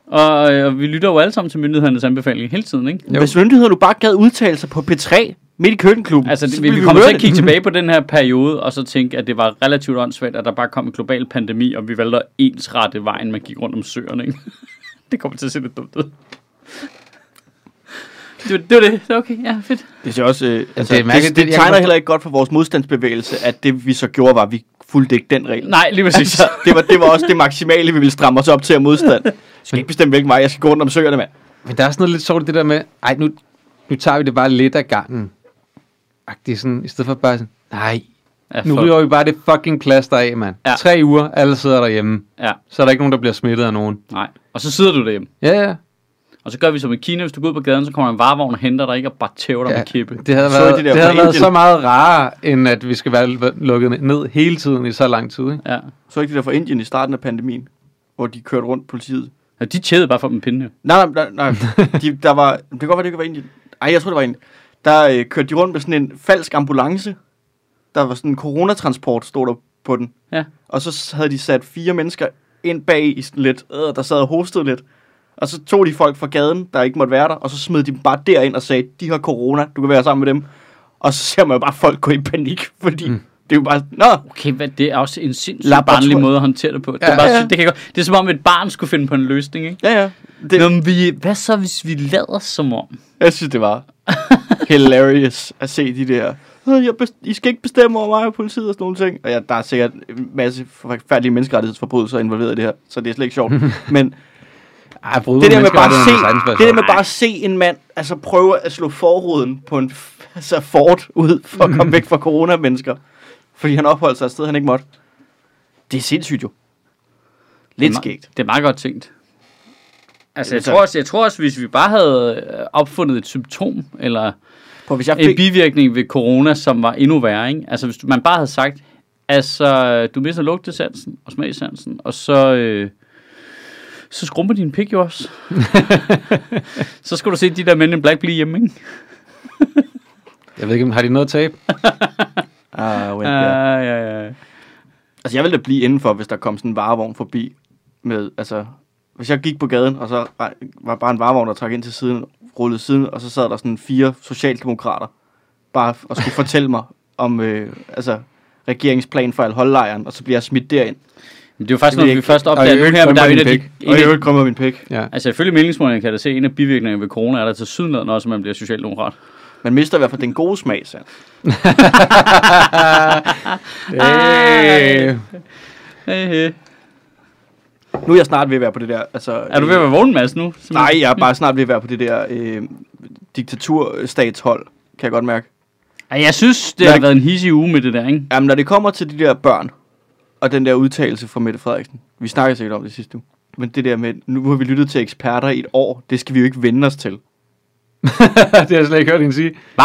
Og, øh, og vi lytter jo alle sammen til myndighedernes anbefalinger hele tiden, ikke?
Jo.
Hvis myndighederne bare gad udtale sig på P3 midt i køkkenklubben,
Altså,
så
det, vi,
ville
vi kommer
høre
til at
det. *laughs*
kigge tilbage på den her periode, og så tænke, at det var relativt åndssvagt, at der bare kom en global pandemi, og vi valgte at ensrette vejen, man gik rundt om søerne, ikke? *laughs* det kommer til at se lidt dumt ud. Det var det. Var det. Okay, ja, fedt.
Det, ser også, øh, altså,
det
det,
er mærkeligt,
det,
det-
det,
jeg
det
kan
tegner
forstå-
heller ikke godt for vores modstandsbevægelse, at det vi så gjorde var, at vi fulgte ikke den regel.
Nej, lige præcis. *laughs*
Så det var, det var også det maksimale, vi ville stramme os op til at
*laughs*
modstand. Jeg skal ikke bestemme, hvilken vej jeg skal gå rundt om søerne, mand.
Men der er sådan noget lidt sjovt i det der med, ej, nu, nu tager vi det bare lidt af gangen. Agtigt sådan, i stedet for bare sådan, nej,
Ja,
nu
fuck.
ryger vi bare det fucking plaster af, mand.
Ja.
Ja. Tre uger, alle sidder derhjemme.
Ja,
Så er der ikke nogen, der bliver smittet af nogen.
nej. Og så sidder du derhjemme.
Ja, ja.
Og så gør vi som i Kina, hvis du går ud på gaden, så kommer der en varevogn og henter dig, ikke? Og bare tæver dig
ja.
med kippe.
Det havde,
Så
været,
de
det,
der
det havde
fra
været
Indien.
så meget rarere, end at vi skal være lukket ned hele tiden i så lang tid. Ikke?
Ja.
Så ikke det der fra Indien i starten af pandemien, hvor de kørte rundt politiet.
ja de tævede bare for dem pinde. jo.
Nej, nej, nej. nej. De, der var, det kan godt være, det ikke var Indien. Ej, jeg tror, det var Indien. Der øh, kørte de rundt med sådan en falsk ambulance. Der var sådan en coronatransport, stod der på den.
Ja.
Og så havde de sat fire mennesker ind bag i sådan lidt, øh, der sad og hostede lidt. Og så tog de folk fra gaden, der ikke måtte være der, og så smed de dem bare derind og sagde, de har corona, du kan være sammen med dem. Og så ser man jo bare folk gå i panik, fordi mm. det er jo bare, nå,
Okay, hvad, det er også en sindssygt
Laborator-
barnlig måde at håndtere det på. Det, er
Ja,
bare,
ja.
det, kan jeg godt, det er som om et barn skulle finde på en løsning, ikke?
ja ja.
Det... Nå,
Det,
men vi, hvad så, hvis vi lader som om?
jeg synes, det var hilarious at se de der, "Øh, jeg best- I skal ikke bestemme over mig og politiet og sådan nogle ting. Og ja, der er sikkert en masse forfærdelige menneskerettighedsforbrydelser involveret i det her, så det er slet ikke *laughs* sjovt. Men
Ej, bryde
Det der med bare at se,
menneskerettighederne
det der
er
med bare at se en mand altså prøve at slå forruden på en f- altså Ford ud for at komme væk fra coronamennesker, fordi han opholdt sig et sted, han ikke måtte. Det er sindssygt jo. Lidt
Det er me-
skægt.
Det er meget godt tænkt. Altså, jeg
Altså-
tror, også, jeg tror også, hvis vi bare havde øh, opfundet et symptom, eller
For hvis jeg
en
fik,
bivirkning ved corona, som var endnu værre, ikke? Altså, hvis du- man bare havde sagt, altså, du mister lugtesansen og smagsansen, og så... Øh, så skrumper din pik jo
*laughs*
også. så skal du se de der mænd in black blive hjemme, ikke?
sådan- Jeg ved ikke, om har de noget at tabe?
ah, wait,
Ja,
ja.
ja, ja.
Altså jeg ville da blive indenfor, hvis der kom sådan en varevogn forbi med, altså, hvis jeg gik på gaden, og så var- var bare en varevogn, der trak ind til siden, rullede siden, og så sad der sådan fire socialdemokrater, bare f- og skulle *laughs* fortælle mig om, øh, altså, regeringsplan for al holdlejren, og så bliver jeg smidt derind.
Men det er jo faktisk
Det ved
noget,
jeg
vi
ikke.
først
Og i
opdager nu
øvrigt
her, men der er jo en
krummer
af de... en
din
Og i
af-
øvrigt krømmer min pik.
Ja.
Altså, ifølge meningsmålingerne kan der se, at en af bivirkningerne ved corona er der til sydenlædende også, at man bliver socialdemokrat.
Man mister i hvert fald den gode smag, Sand.
Hey.
Hey, hey.
Nu er jeg snart ved at være på det der... Altså, øh,
Er du ved at være vågen, Mads, nu? Simpelthen.
Nej, jeg er bare snart ved at være på det der øh, diktaturstatshold, kan jeg godt mærke.
Ej, jeg synes, det
Nej.
har været en hissig uge med det der, ikke?
Jamen, når det kommer til de der børn, og den der udtalelse fra Mette Frederiksen, vi snakkede sikkert om det sidste uge, men det der med, nu har vi lyttet til eksperter i et år, det skal vi jo ikke vende os til.
*laughs* det har jeg slet ikke hørt hende sige.
Hvad?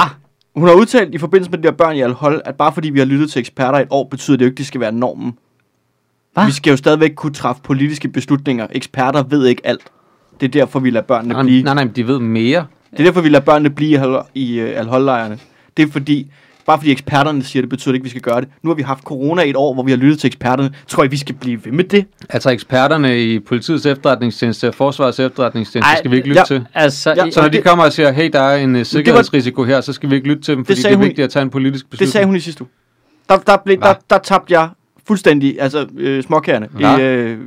Hun har udtalt i forbindelse med de der børn i alkohol, at bare fordi vi har lyttet til eksperter i et år, betyder det jo ikke, det skal være normen.
Hva?
Vi skal jo stadigvæk kunne træffe politiske beslutninger. Eksperter ved ikke alt. Det er derfor, vi lader børnene
Nej,
blive.
Ah, nej, nej, men de ved mere.
Det er derfor, vi lader børnene blive i hal- i øh, alkohollejrene. Det er fordi, bare fordi eksperterne siger, det betyder det ikke, vi skal gøre det. Nu har vi haft corona i et år, hvor vi har lyttet til eksperterne. Tror I, vi skal blive ved med det?
Altså eksperterne i politiets efterretningstjeneste og forsvarets efterretningstjeneste
Ej,
Ej, skal vi ikke lytte
ja.
ja. til.
Altså,
Ja,
ja,
Så når de
det-
kommer og siger, hey, der er en uh, sikkerhedsrisiko her, så skal vi ikke lytte til dem, fordi det,
sagde
er
hun-
vigtigt at tage en politisk beslutning.
Det sagde hun i sidste uge. Der, der, blev, der,
Hva?
der tabte jeg fuldstændig, altså øh, småkærne,
Ja.
ja. i, øh,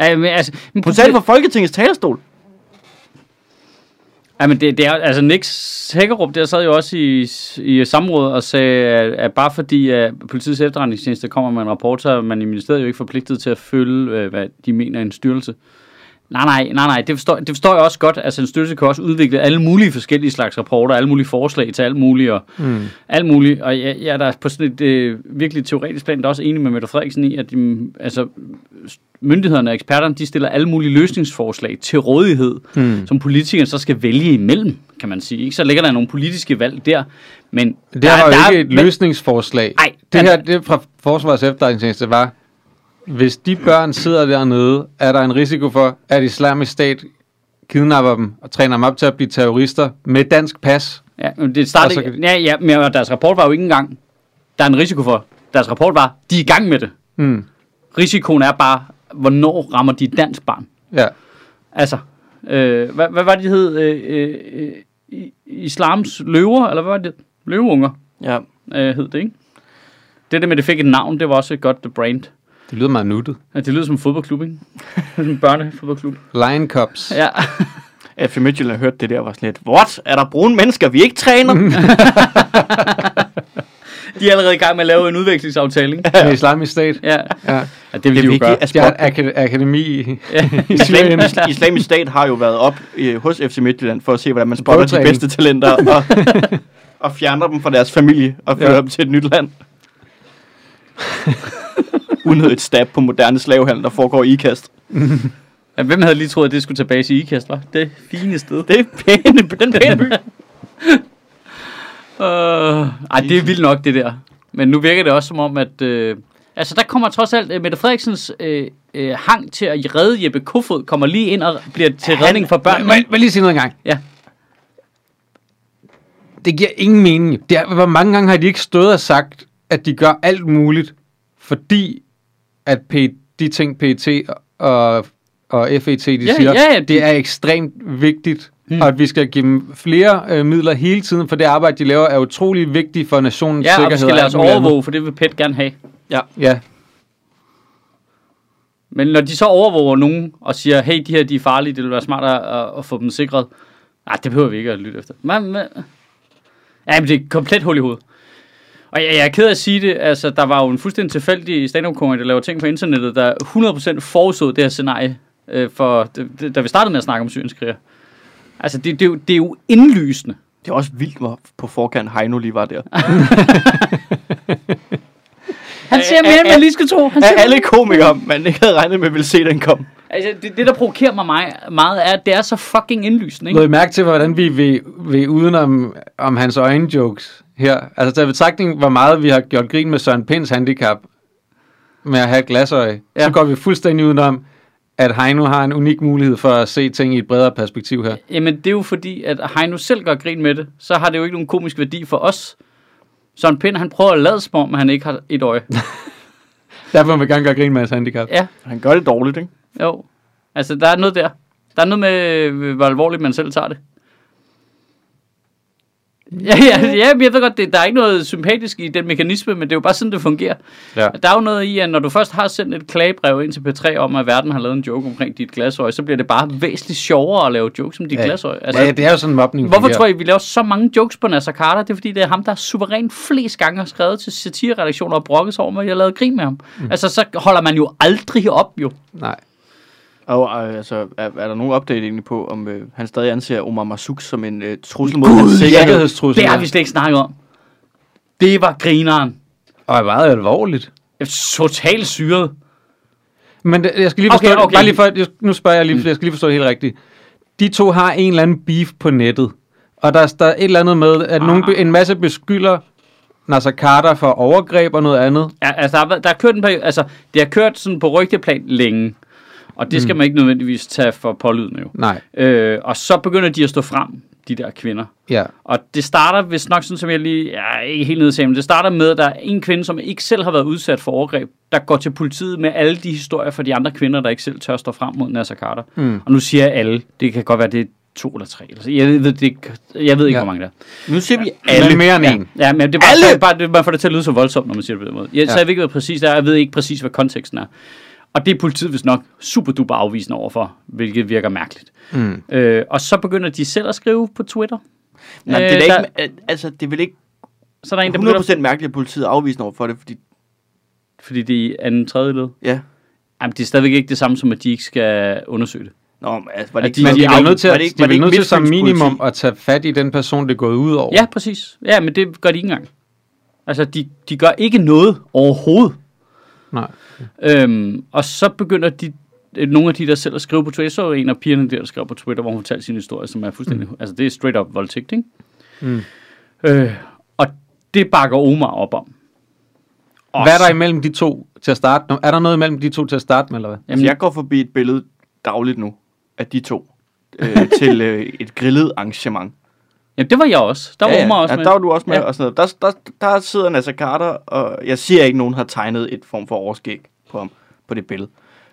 Ja, men, altså, men
potentielt fra Folketingets talerstol.
Ja, men det, det er, altså Nick Hækkerup der sad jo også i, i samrådet og sagde, at, at bare fordi at politiets efterretningstjeneste kommer med en rapport, så er man i ministeriet jo ikke forpligtet til at følge, øh, hvad de mener er en styrelse. Nej, nej, nej, nej, det forstår, det forstår jeg også godt. Altså en styrelse kan også udvikle alle mulige forskellige slags rapporter, alle mulige forslag til alt muligt og mm. alt muligt. Og jeg, jeg er da på sådan et øh, virkelig teoretisk plan, der er også enig med Mette Frederiksen i, at de, altså, myndighederne og eksperterne, de stiller alle mulige løsningsforslag til rådighed, mm. som politikerne så skal vælge imellem, kan man sige. Ikke? Så ligger der nogle politiske valg der, men...
Det her var
der,
jo
der-
ikke et
men-
løsningsforslag.
Ej,
det
altså-
her det fra Forsvarets Efterretningstjeneste var, hvis de børn sidder dernede, er der en risiko for, at islamisk stat kidnapper dem og træner dem op til at blive terrorister med dansk pas.
Ja, men det
Og så
startede,
Altså, kan
kan... ja, ja, men deres rapport var jo ikke engang... Der er en risiko for. Deres rapport var, de er i gang med det.
Mm.
Risikoen er bare, hvornår rammer de et dansk barn?
Ja.
Altså, øh, hvad, hvad var det, de hed? Øh, øh, øh, i- islams løver, eller hvad var det? Løveunger
Ja.
øh, hed det, ikke? Det der med, at det fik et navn, det var også et godt brand.
Det lyder meget nuttet.
Ja, det lyder som en fodboldklub, ikke? *laughs* som en børnefodboldklub.
Lion Cups.
Ja.
FC Midtjylland hørte det der, var sådan lidt, what? Er der brune mennesker, vi ikke træner?
De er allerede i gang med at lave en udvekslingsaftale, ikke?
Med islamisk stat.
Ja. *laughs*
Ja.
ja det vil
Det
de
er
jo gøre.
vigtigt, at
De har
sport,
et akad- akademi i, i
islam,
Syrien.
is- islamisk stat har jo været op øh, hos FC Midtjylland for at se, hvordan man spotter de
Prøvetræning.
bedste talenter og, og fjerner dem fra deres familie og fører
Ja.
ja. dem til et nyt land. *laughs* Unødigt stab på moderne slavehandel, der foregår i IKAST.
Ja, hvem havde lige troet, at det skulle tilbage i IKAST, var? Det fine sted.
Det er pæne, den pæne by.
*laughs* Øh, ej, det er vildt nok, det der. Men nu virker det også som om, at... Øh, altså, der kommer trods alt øh, Mette Frederiksens øh, øh, hang til at redde Jeppe Kofod, kommer lige ind og bliver til redning for børnene.
Må, jeg- må jeg lige sige noget engang?
Ja.
Det giver ingen mening. Det er, hvor mange gange har de ikke stået og sagt, at de gør alt muligt, fordi at P, de ting PET og, og FET, de
Ja,
siger,
ja, Hmm. ja,
det
de-
er ekstremt vigtigt, mm. og at vi skal give dem flere øh, midler hele tiden, for det arbejde, de laver, er utrolig vigtigt for nationens
Ja, og vi
sikkerhed.
skal lade
alt
os
muligt andet.
overvåge, for det vil PET gerne have.
Ja,
Men når de så overvåger nogen og siger, hey, de her de er farlige, det vil være smart at, at, at få dem sikret. Nej, det behøver vi ikke at lytte efter. Men, men... Ja, men det er et komplet hul i hovedet. Og jeg, jeg er ked af at sige det, altså der var jo en fuldstændig tilfældig stand up der laver ting på internettet, der 100% forudså det her scenarie, øh, for, det, det, da vi startede med at snakke om syrenskriger. Altså det, det, er jo, det er jo indlysende.
Det er også vildt, hvor på forkant Heino lige var der.
Han ser mere, end man lige skal tro. Han
Af
ser
alle komikere, man ikke havde regnet med, ville se den komme.
Altså, det, det, der provokerer mig meget, meget, er, at det er så fucking indlysende. Ikke?
Lod I mærke til, hvordan vi ved, ved udenom om hans øjenjokes her? Altså, der er betragtning, hvor meget vi har gjort grin med Søren Pins handicap med at have et glasøje. Ja. Så
Ja.
går vi fuldstændig udenom, at Heino har en unik mulighed for at se ting i et bredere perspektiv her.
Jamen, det er jo fordi, at Heino selv gør grin med det. Så har det jo ikke nogen komisk værdi for os. Søren Pind, han prøver at lade som om, han ikke har et
*laughs*
øje.
Derfor vil man gerne gøre grin med hans handicap.
Ja,
Han gør det dårligt, ikke?
jo. Altså, der er noget der. Der er noget med, øh, hvor alvorligt man selv tager det. Ja, ja, ja men jeg ved godt, det, der er ikke noget sympatisk i den mekanisme, men det er jo bare sådan, det fungerer.
Ja.
Der er jo noget i, at når du først har sendt et klagebrev ind til P3 om, at verden har lavet en joke omkring dit glasøje, så bliver det bare væsentligt sjovere at lave jokes om dit
Ja.
glasøje.
Altså, ja, det er jo sådan en mobning.
Hvorfor tror I, vi laver så mange jokes på Nasser Carter? Det er fordi, det er ham, der suverænt flest gange har skrevet til satireredaktioner og brokket sig over, at jeg lavede grin med ham. Mm. Altså, så holder man jo aldrig op, jo.
Nej.
Og øh, altså, er, er der nogen update egentlig på, om øh, han stadig anser Omar Masuk som en øh, trussel mod hans sikkerhed?
Sikkerhedstrussel.
Det har vi slet ikke snakket om. Det var grineren.
Og er meget alvorligt.
Jeg er Totalt syret.
Men det, jeg skal lige forstå,
Okay, okay.
Bare lige for, jeg- nu spørger jeg lige, for jeg skal lige forstå det helt rigtigt. De to har en eller anden beef på nettet, og der er, der er et eller andet med, at ah. nogen, be- en masse beskylder Nasser Carter for overgreb og noget andet.
Ja, altså, der har, været- der har kørt en periode, altså, det har kørt sådan på rygteplan længe. Og det skal man ikke nødvendigvis tage for pålydende jo.
Nej,
Øh, og så begynder de at stå frem, de der kvinder.
ja.
Og det starter, hvis nok sådan som jeg lige, ja, ikke helt nede til, men det starter med, at der er en kvinde, som ikke selv har været udsat for overgreb, der går til politiet med alle de historier fra de andre kvinder, der ikke selv tør stå frem mod Nasser Carter. Mm. Og nu siger jeg alle, det kan godt være, det er to eller tre. Eller så. Jeg, ved, det, ikke- jeg ved ikke,
Ja.
ja. hvor mange der er.
Nu ser vi
Alle. Men
alle.
mere end en.
Ja, men det er bare,
Alle!
Alle! bare, det, man får det til at lyde så voldsomt, når man siger det på den måde. Jeg, ja.
Ja.
Så jeg ved ikke, hvad præcis det er. Jeg ved ikke præcis, hvad konteksten er. Og det er politiet vist nok super duper afvisende overfor, hvilket virker mærkeligt.
Mm.
Øh, og så begynder de selv at skrive på Twitter.
Nej, men det er
Øh,
da
der-
ikke, al- altså, det er vel ikke
Så er der en, der begynder,
100% mærkeligt, at politiet er afvisende over for det, fordi,
fordi det er i anden tredje led.
ja.
Jamen, det er stadigvæk ikke det samme som, at de ikke skal undersøge det.
Nå, men altså, var det
At
ikke...
de-
var
Men
det
de
ikke
er
af-
nødt til,
var
at,
det ikke-
de
var det
er
ikke
nødt til som
Midtfyns politi?
minimum at tage fat i den person, det er gået ud over.
Ja, præcis. Ja, men det gør de ikke engang. Altså, de, de gør ikke noget overhovedet.
Nej.
Øhm, og så begynder de, øh, nogle af de, der selv at skrive på Twitter, så er en af pigerne der, der skrev på Twitter, hvor hun fortalte sin historie, som er fuldstændig, mm. altså det er straight up voldtægt, ikke?
Mm.
Øh, og det bakker Omar op om. Og
Hvad er der imellem de to til at starte med? Er der noget imellem de to til at starte med, eller hvad?
Altså, jeg går forbi et billede dagligt nu af de to øh, til øh, et grillet arrangement.
Jamen, det var jeg også. Der var Omar også
ja,
med.
der var du også med.
Ja.
Ja. Og sådan noget. Der, der, der sidder Nasser Carter, og jeg siger ikke, at nogen har tegnet et form for overskæg på ham på det billede.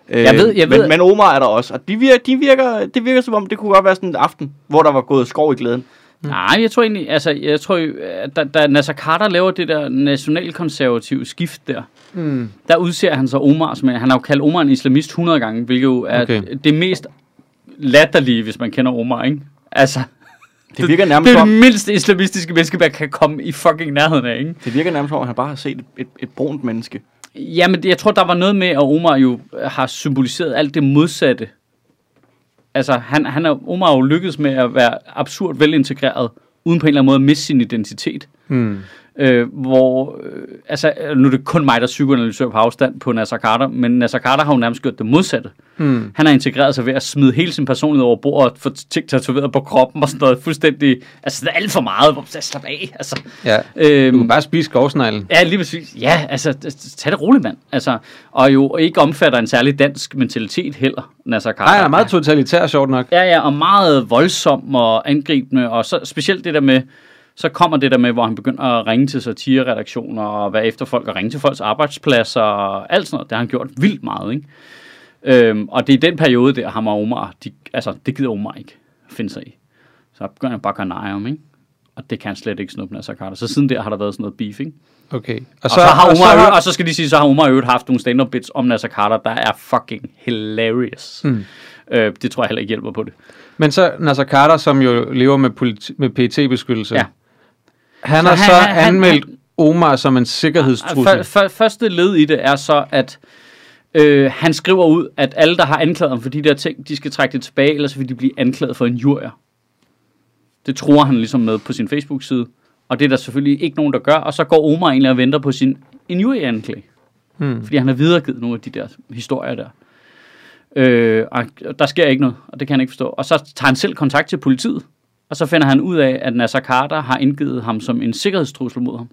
Øh,
Jeg ved- jeg ved-
men, men Omar er der også, og de virker, de virker, det virker som om, det kunne godt være sådan en aften, hvor der var gået skov i glæden.
Mm.
Nej, jeg tror egentlig, altså, jeg tror, jo, at da, da Nasser Carter laver det der nationalkonservative skift der,
Mm.
der udser han så Omar, som han har jo kaldt Omar en islamist 100 gange, hvilket jo er
Okay.
okay. det mest latterlige, hvis man kender Omar, ikke? Altså,
Det virker nærmest
det er
som
det
om,
mindst islamistiske menneske, man kan komme i fucking nærheden af, ikke?
det virker nærmest som om, at han bare har set et, et, et brunt menneske.
Jamen, det- jeg tror, der var noget med, at Omar jo øh, har symboliseret alt det modsatte. Altså, han, han er, Omar har jo lykkedes med at være absurd velintegreret, uden på en eller anden måde at miste sin identitet.
Mm.
Øh, hvor, øh, altså, nu er det kun mig, der psykoanalyserer på afstand på Nasser Carter, men Nasser Carter har jo nærmest gjort det modsatte.
Mm.
Han har integreret sig ved at smide hele sin personlighed over bord og få ting tatoveret på kroppen og sådan noget fuldstændig, altså det er alt for meget, hvor man slap af, altså.
Ja. Du
Øhm,
kan bare spise skovsneglen.
Ja, lige præcis. Ja, altså, t- t- tag det roligt, mand. Altså, og jo ikke omfatter en særlig dansk mentalitet heller, Nasser Carter.
Nej, han er meget totalitær, sjovt nok.
Ja, ja, og meget voldsom og angribende, og så specielt det der med, så kommer det der med, hvor han begynder at ringe til satireredaktioner og være efter folk og ringe til folks arbejdspladser og alt sådan noget. Det har han gjort vildt meget, ikke? Øhm, og det er i den periode der, ham og Omar, de, altså, det gider Omar ikke finde sig i. Så begynder han bare at gøre nej om, ikke? Og det kan han slet ikke snuppe Nasser Carter. Så siden der har der været sådan noget beef, ikke?
Okay.
Og så, og så har Omar, og, så har... og så skal de sige, så har Omar i øvrigt haft nogle stand-up bits om Nasser Carter, der er fucking hilarious. Mm. Øh, det tror jeg heller ikke hjælper på det.
Men så Nasser Carter, som jo lever med, politi- med PET-beskyttelse,
Ja.
han
Så
har
han-
så
han- Ah, han-
anmeldt Omar som en sikkerhedstrussel.
Før- før- Første led i det er så, at øh, han skriver ud, at alle, der har anklaget ham for de der ting, de skal trække det tilbage, ellers vil de blive anklaget for en jurier. Det tror han ligesom med på sin Facebook-side. Og det er der selvfølgelig ikke nogen, der gør. Og så går Omar egentlig og venter på sin injurieanklage.
Hmm.
Fordi han har videregivet nogle af de der historier der. Øh, og der sker ikke noget, og det kan han ikke forstå. Og så tager han selv kontakt til politiet, og så finder han ud af, at Nasser Carter har indgivet ham som en sikkerhedstrussel mod ham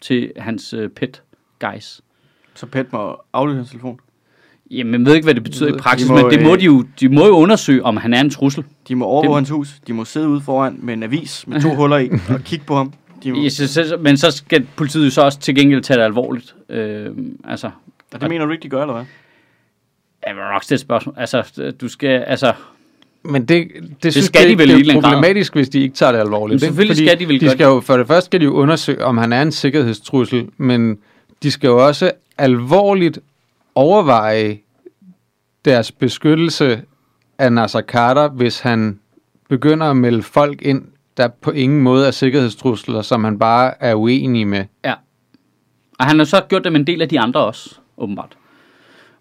til hans øh, pet guys.
Så Pet må aflytte hans telefon.
Jamen, jeg ved ikke, hvad det betyder
Jeg ved-
i praksis,
de
de
må,
må, men det må
øh,
de, jo, de må jo undersøge, om han er en trussel.
De må overvåge
Det-
hans hus, de må sidde ude foran med en avis med to huller i
*laughs*
og kigge på ham. De må,
Ja, så- så- Men så skal politiet jo så også til gengæld tage det alvorligt. Øh, altså,
Og det mener du ikke, de gør, eller hvad?
jeg vil nok stille et spørgsmål. Altså, du skal, altså,
Men det, det, det, synes,
skal
det,
de vel i en
det
eller
er
anden grad.
problematisk, hvis de ikke tager det
Men
alvorligt. ikke?
selvfølgelig skal de vel
de
gøre
skal jo, For det første skal de jo undersøge, om han er en sikkerhedstrussel, men de skal jo også alvorligt overveje deres beskyttelse af Nasser Carter, hvis han begynder at melde folk ind, der på ingen måde er sikkerhedstrusler, som han bare er uenig med.
Ja. Og han har så gjort det med en del af de andre også, åbenbart.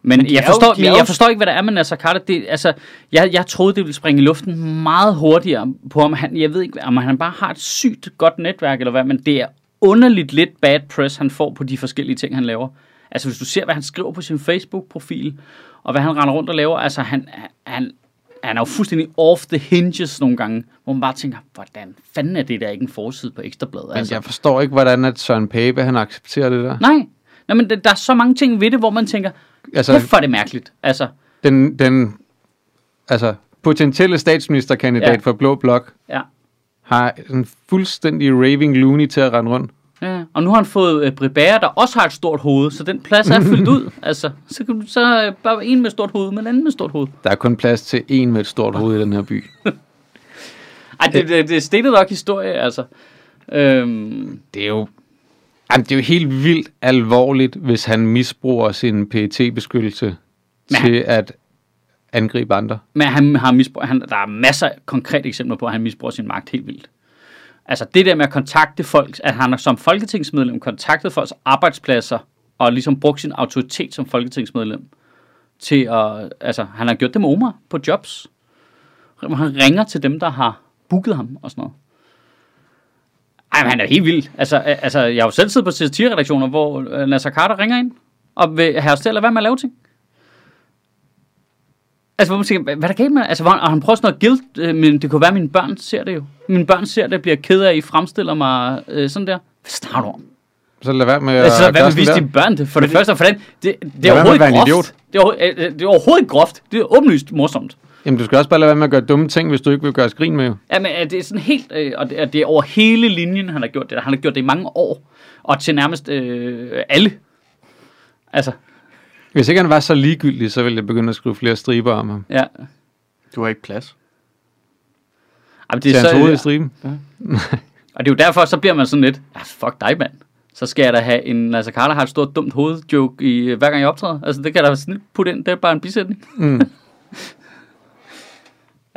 Men, men
de
jeg,
er jo-
forstår,
de er
men
jo-
jeg forstår ikke, hvad der er med Nasser Carter. Det, altså, jeg, jeg troede, det ville springe i luften meget hurtigere på ham. Han, jeg ved ikke, om han bare har et sygt godt netværk eller hvad, men det er underligt lidt bad press, han får på de forskellige ting, han laver. Altså, hvis du ser, hvad han skriver på sin Facebook-profil, og hvad han render rundt og laver, altså, han, han, han er jo fuldstændig off the hinges nogle gange, hvor man bare tænker, hvordan fanden er det der ikke en forside på Ekstrabladet?
Men
altså?
jeg forstår ikke, hvordan at Søren Pape, han accepterer det der.
Nej. Nej, men der, der er så mange ting ved det, hvor man tænker,
Altså-
altså, hvorfor er det mærkeligt? Altså,
Den, den altså, potentielle statsministerkandidat
Ja.
for Blå Blok,
ja.
har en fuldstændig raving loony til at rende rundt.
ja. Og nu har han fået øh, Britt Bager, der også har et stort hoved, så den plads er fyldt ud. Altså, så kan du så øh, bare en med stort hoved, men en anden med stort hoved.
Der er kun plads til en med et stort hoved i den her by.
Ej, det, det, det er stenet nok historie, altså. Øhm,
Det er jo... Jamen, det er jo helt vildt alvorligt, hvis han misbruger sin pet beskyttelse
Men
til at angribe andre.
men han har misbrug, han, der er masser af konkrete eksempler på, at han misbruger sin magt helt vildt. Altså det der med at kontakte folk, at han som folketingsmedlem kontaktede folks arbejdspladser, og ligesom brugte sin autoritet som folketingsmedlem til at, altså han har gjort det med Omar på jobs. Hvor Han ringer til dem, der har booket ham og sådan noget. Ej, men han er helt vild. Altså, øh, altså jeg har jo selv siddet på satireredaktioner, hvor øh, Nasser Carter ringer ind, og vil have os til at lade være med at lave ting. Altså, hvor man tænker, hvad hvad er der galt med det? Altså, hvor han, og han prøver sådan noget guilt, øh, men det kunne være, at mine børn ser det jo. Mine børn ser det, bliver ked af, at I fremstiller mig øh, sådan der. Hvad snakker du om?
Så lad være med
Ja, altså,
at
hvad
gøre
vil
sådan
vise
der.
dine børn det? For det, første, og for den, det, det
Lad
er
være med at
overhovedet
være en
groft.
idiot.
Det er, overho- øh, øh, det er overhovedet groft. Det er åbenlyst morsomt.
Jamen, du skal også bare lade være med at gøre dumme ting, hvis du ikke vil gøre grin med. jo.
Jamen, øh, det er sådan helt, øh, og det er, det er over hele linjen, han har gjort det. Han har gjort det i mange år, og til nærmest øh, alle. Altså,
Hvis ikke han var så ligegyldig, så ville jeg begynde at skrive flere striber om ham.
ja.
Du har ikke plads.
Jamen,
Det
det
er
er
hans hoved i
så,
striben.
og det er jo derfor, så bliver man sådan lidt, ah, fuck dig, mand. Så skal jeg da have en, altså Carla har et stort dumt hovedjoke i, øh, hver gang jeg optræder. Altså, det kan jeg da snilt putte ind, det er bare en bisætning.
Mm.
*laughs*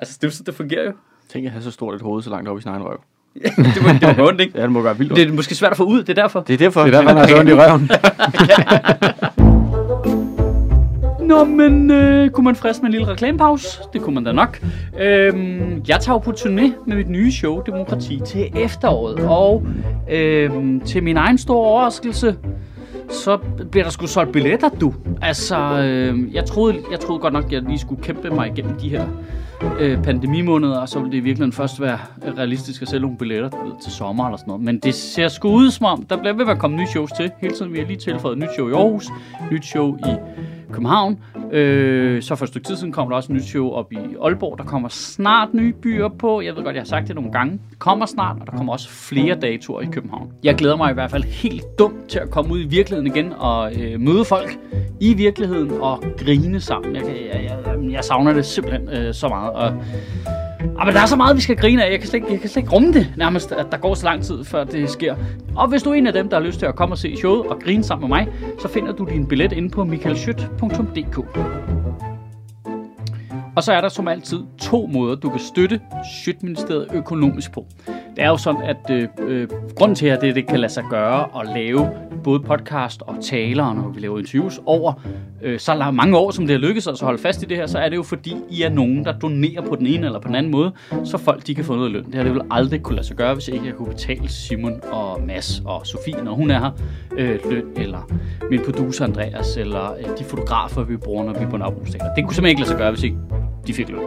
Altså, det, er jo sådan, det fungerer jo. *laughs*
Tænk at have så stort et hoved så langt op i sin egen røv.
Det må, det må gøre ondt, ikke?
Ja, det må gøre vildt.
Det er måske svært at få ud, det er derfor.
det er derfor.
Det er derfor, han har så ondt i røven.
Nå, men øh, kunne man friste med en lille reklamepause? Det kunne man da nok. Øhm, jeg tager jo på turné med mit nye show, Demokrati, til efteråret. Og øhm, til min egen store overraskelse, så bliver der sgu solgt billetter, du. Altså, øh, jeg, troede, jeg troede godt nok, at jeg lige skulle kæmpe mig igennem de her øh, pandemimåneder, og så ville det i virkeligheden først være realistisk at sælge nogle billetter du ved, til sommer eller sådan noget. Men det ser sgu ud som om, der bliver ved med at komme nye shows til. Hele tiden vi har lige tilføjet nyt show i Aarhus, nyt show i København. Øh, så for et stykke tid siden kom der også et nyt show op i Aalborg. Der kommer snart nye byer på. Jeg ved godt, jeg har sagt det nogle gange. Det kommer snart, og der kommer også flere datoer i København. Jeg glæder mig i hvert fald helt dumt til at komme ud i virkeligheden igen og øh, møde folk i virkeligheden og grine sammen. Jeg, kan- jeg, jeg, jeg savner det simpelthen øh, så meget. Og, Ah, men der er så meget, vi skal grine af. Jeg kan, slet ikke, jeg kan slet ikke rumme det nærmest, at der går så lang tid, før det sker. Og hvis du er en af dem, der har lyst til at komme og se showet og grine sammen med mig, så finder du din billet inde på michaelschødt.dk. Og så er der som altid to måder, du kan støtte Sjøtministeriet økonomisk på. Det er jo sådan, at øh, øh, grunden til, at det, det kan lade sig gøre at lave både podcast og taler, når vi laver interviews, over øh, så la- mange år, som det har lykkedes os at holde fast i det her, så er det jo fordi, I er nogen, der donerer på den ene eller på den anden måde, så folk de kan få noget løn. Det har det ville aldrig kunne lade sig gøre, hvis ikke jeg kunne betale Simon og Mads og Sofie, når hun er her, øh, løn, eller min producer Andreas, eller øh, de fotografer, vi bruger, når vi er på Nørrebro Teater. Det kunne simpelthen ikke lade sig gøre, hvis ikke de fik løn.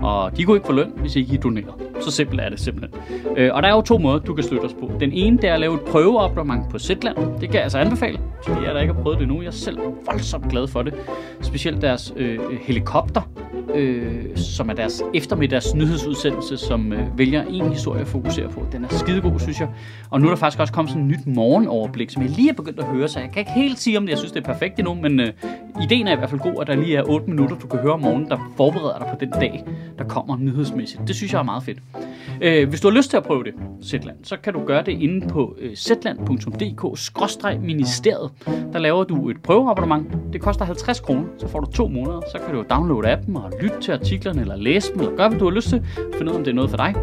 Og de kunne ikke få løn, hvis ikke I donerede. Så simpelt er det simpelthen. Øh, og der er jo to måder, du kan støtte os på. Den ene, det er at lave et prøveabonnement på Zetland. Det kan jeg altså anbefale, til jer, der ikke har prøvet det endnu. Jeg er selv voldsomt glad for det. Specielt deres øh, helikopter, øh, som er deres eftermiddags nyhedsudsendelse, som øh, vælger en historie at fokusere på. Den er skidegod, synes jeg. Og nu er der faktisk også kommet sådan et nyt morgenoverblik, som jeg lige er begyndt at høre, så jeg kan ikke helt sige, om jeg synes, det er perfekt endnu, men øh, ideen er i hvert fald god, at der lige er 8 minutter, du kan høre om morgenen, der forbereder dig på den dag, der kommer nyhedsmæssigt. Det synes jeg er meget fedt. Øh, hvis du har lyst til at prøve det, Zetland, så kan du gøre det inde på øh, zetland.dk-ministeriet. Der laver du et prøveabonnement. Det koster 50 kroner, så får du to måneder. Så kan du downloade appen og lytte til artiklerne, eller læse dem, eller gøre, hvad du har lyst til. Find ud af, om det er noget for dig.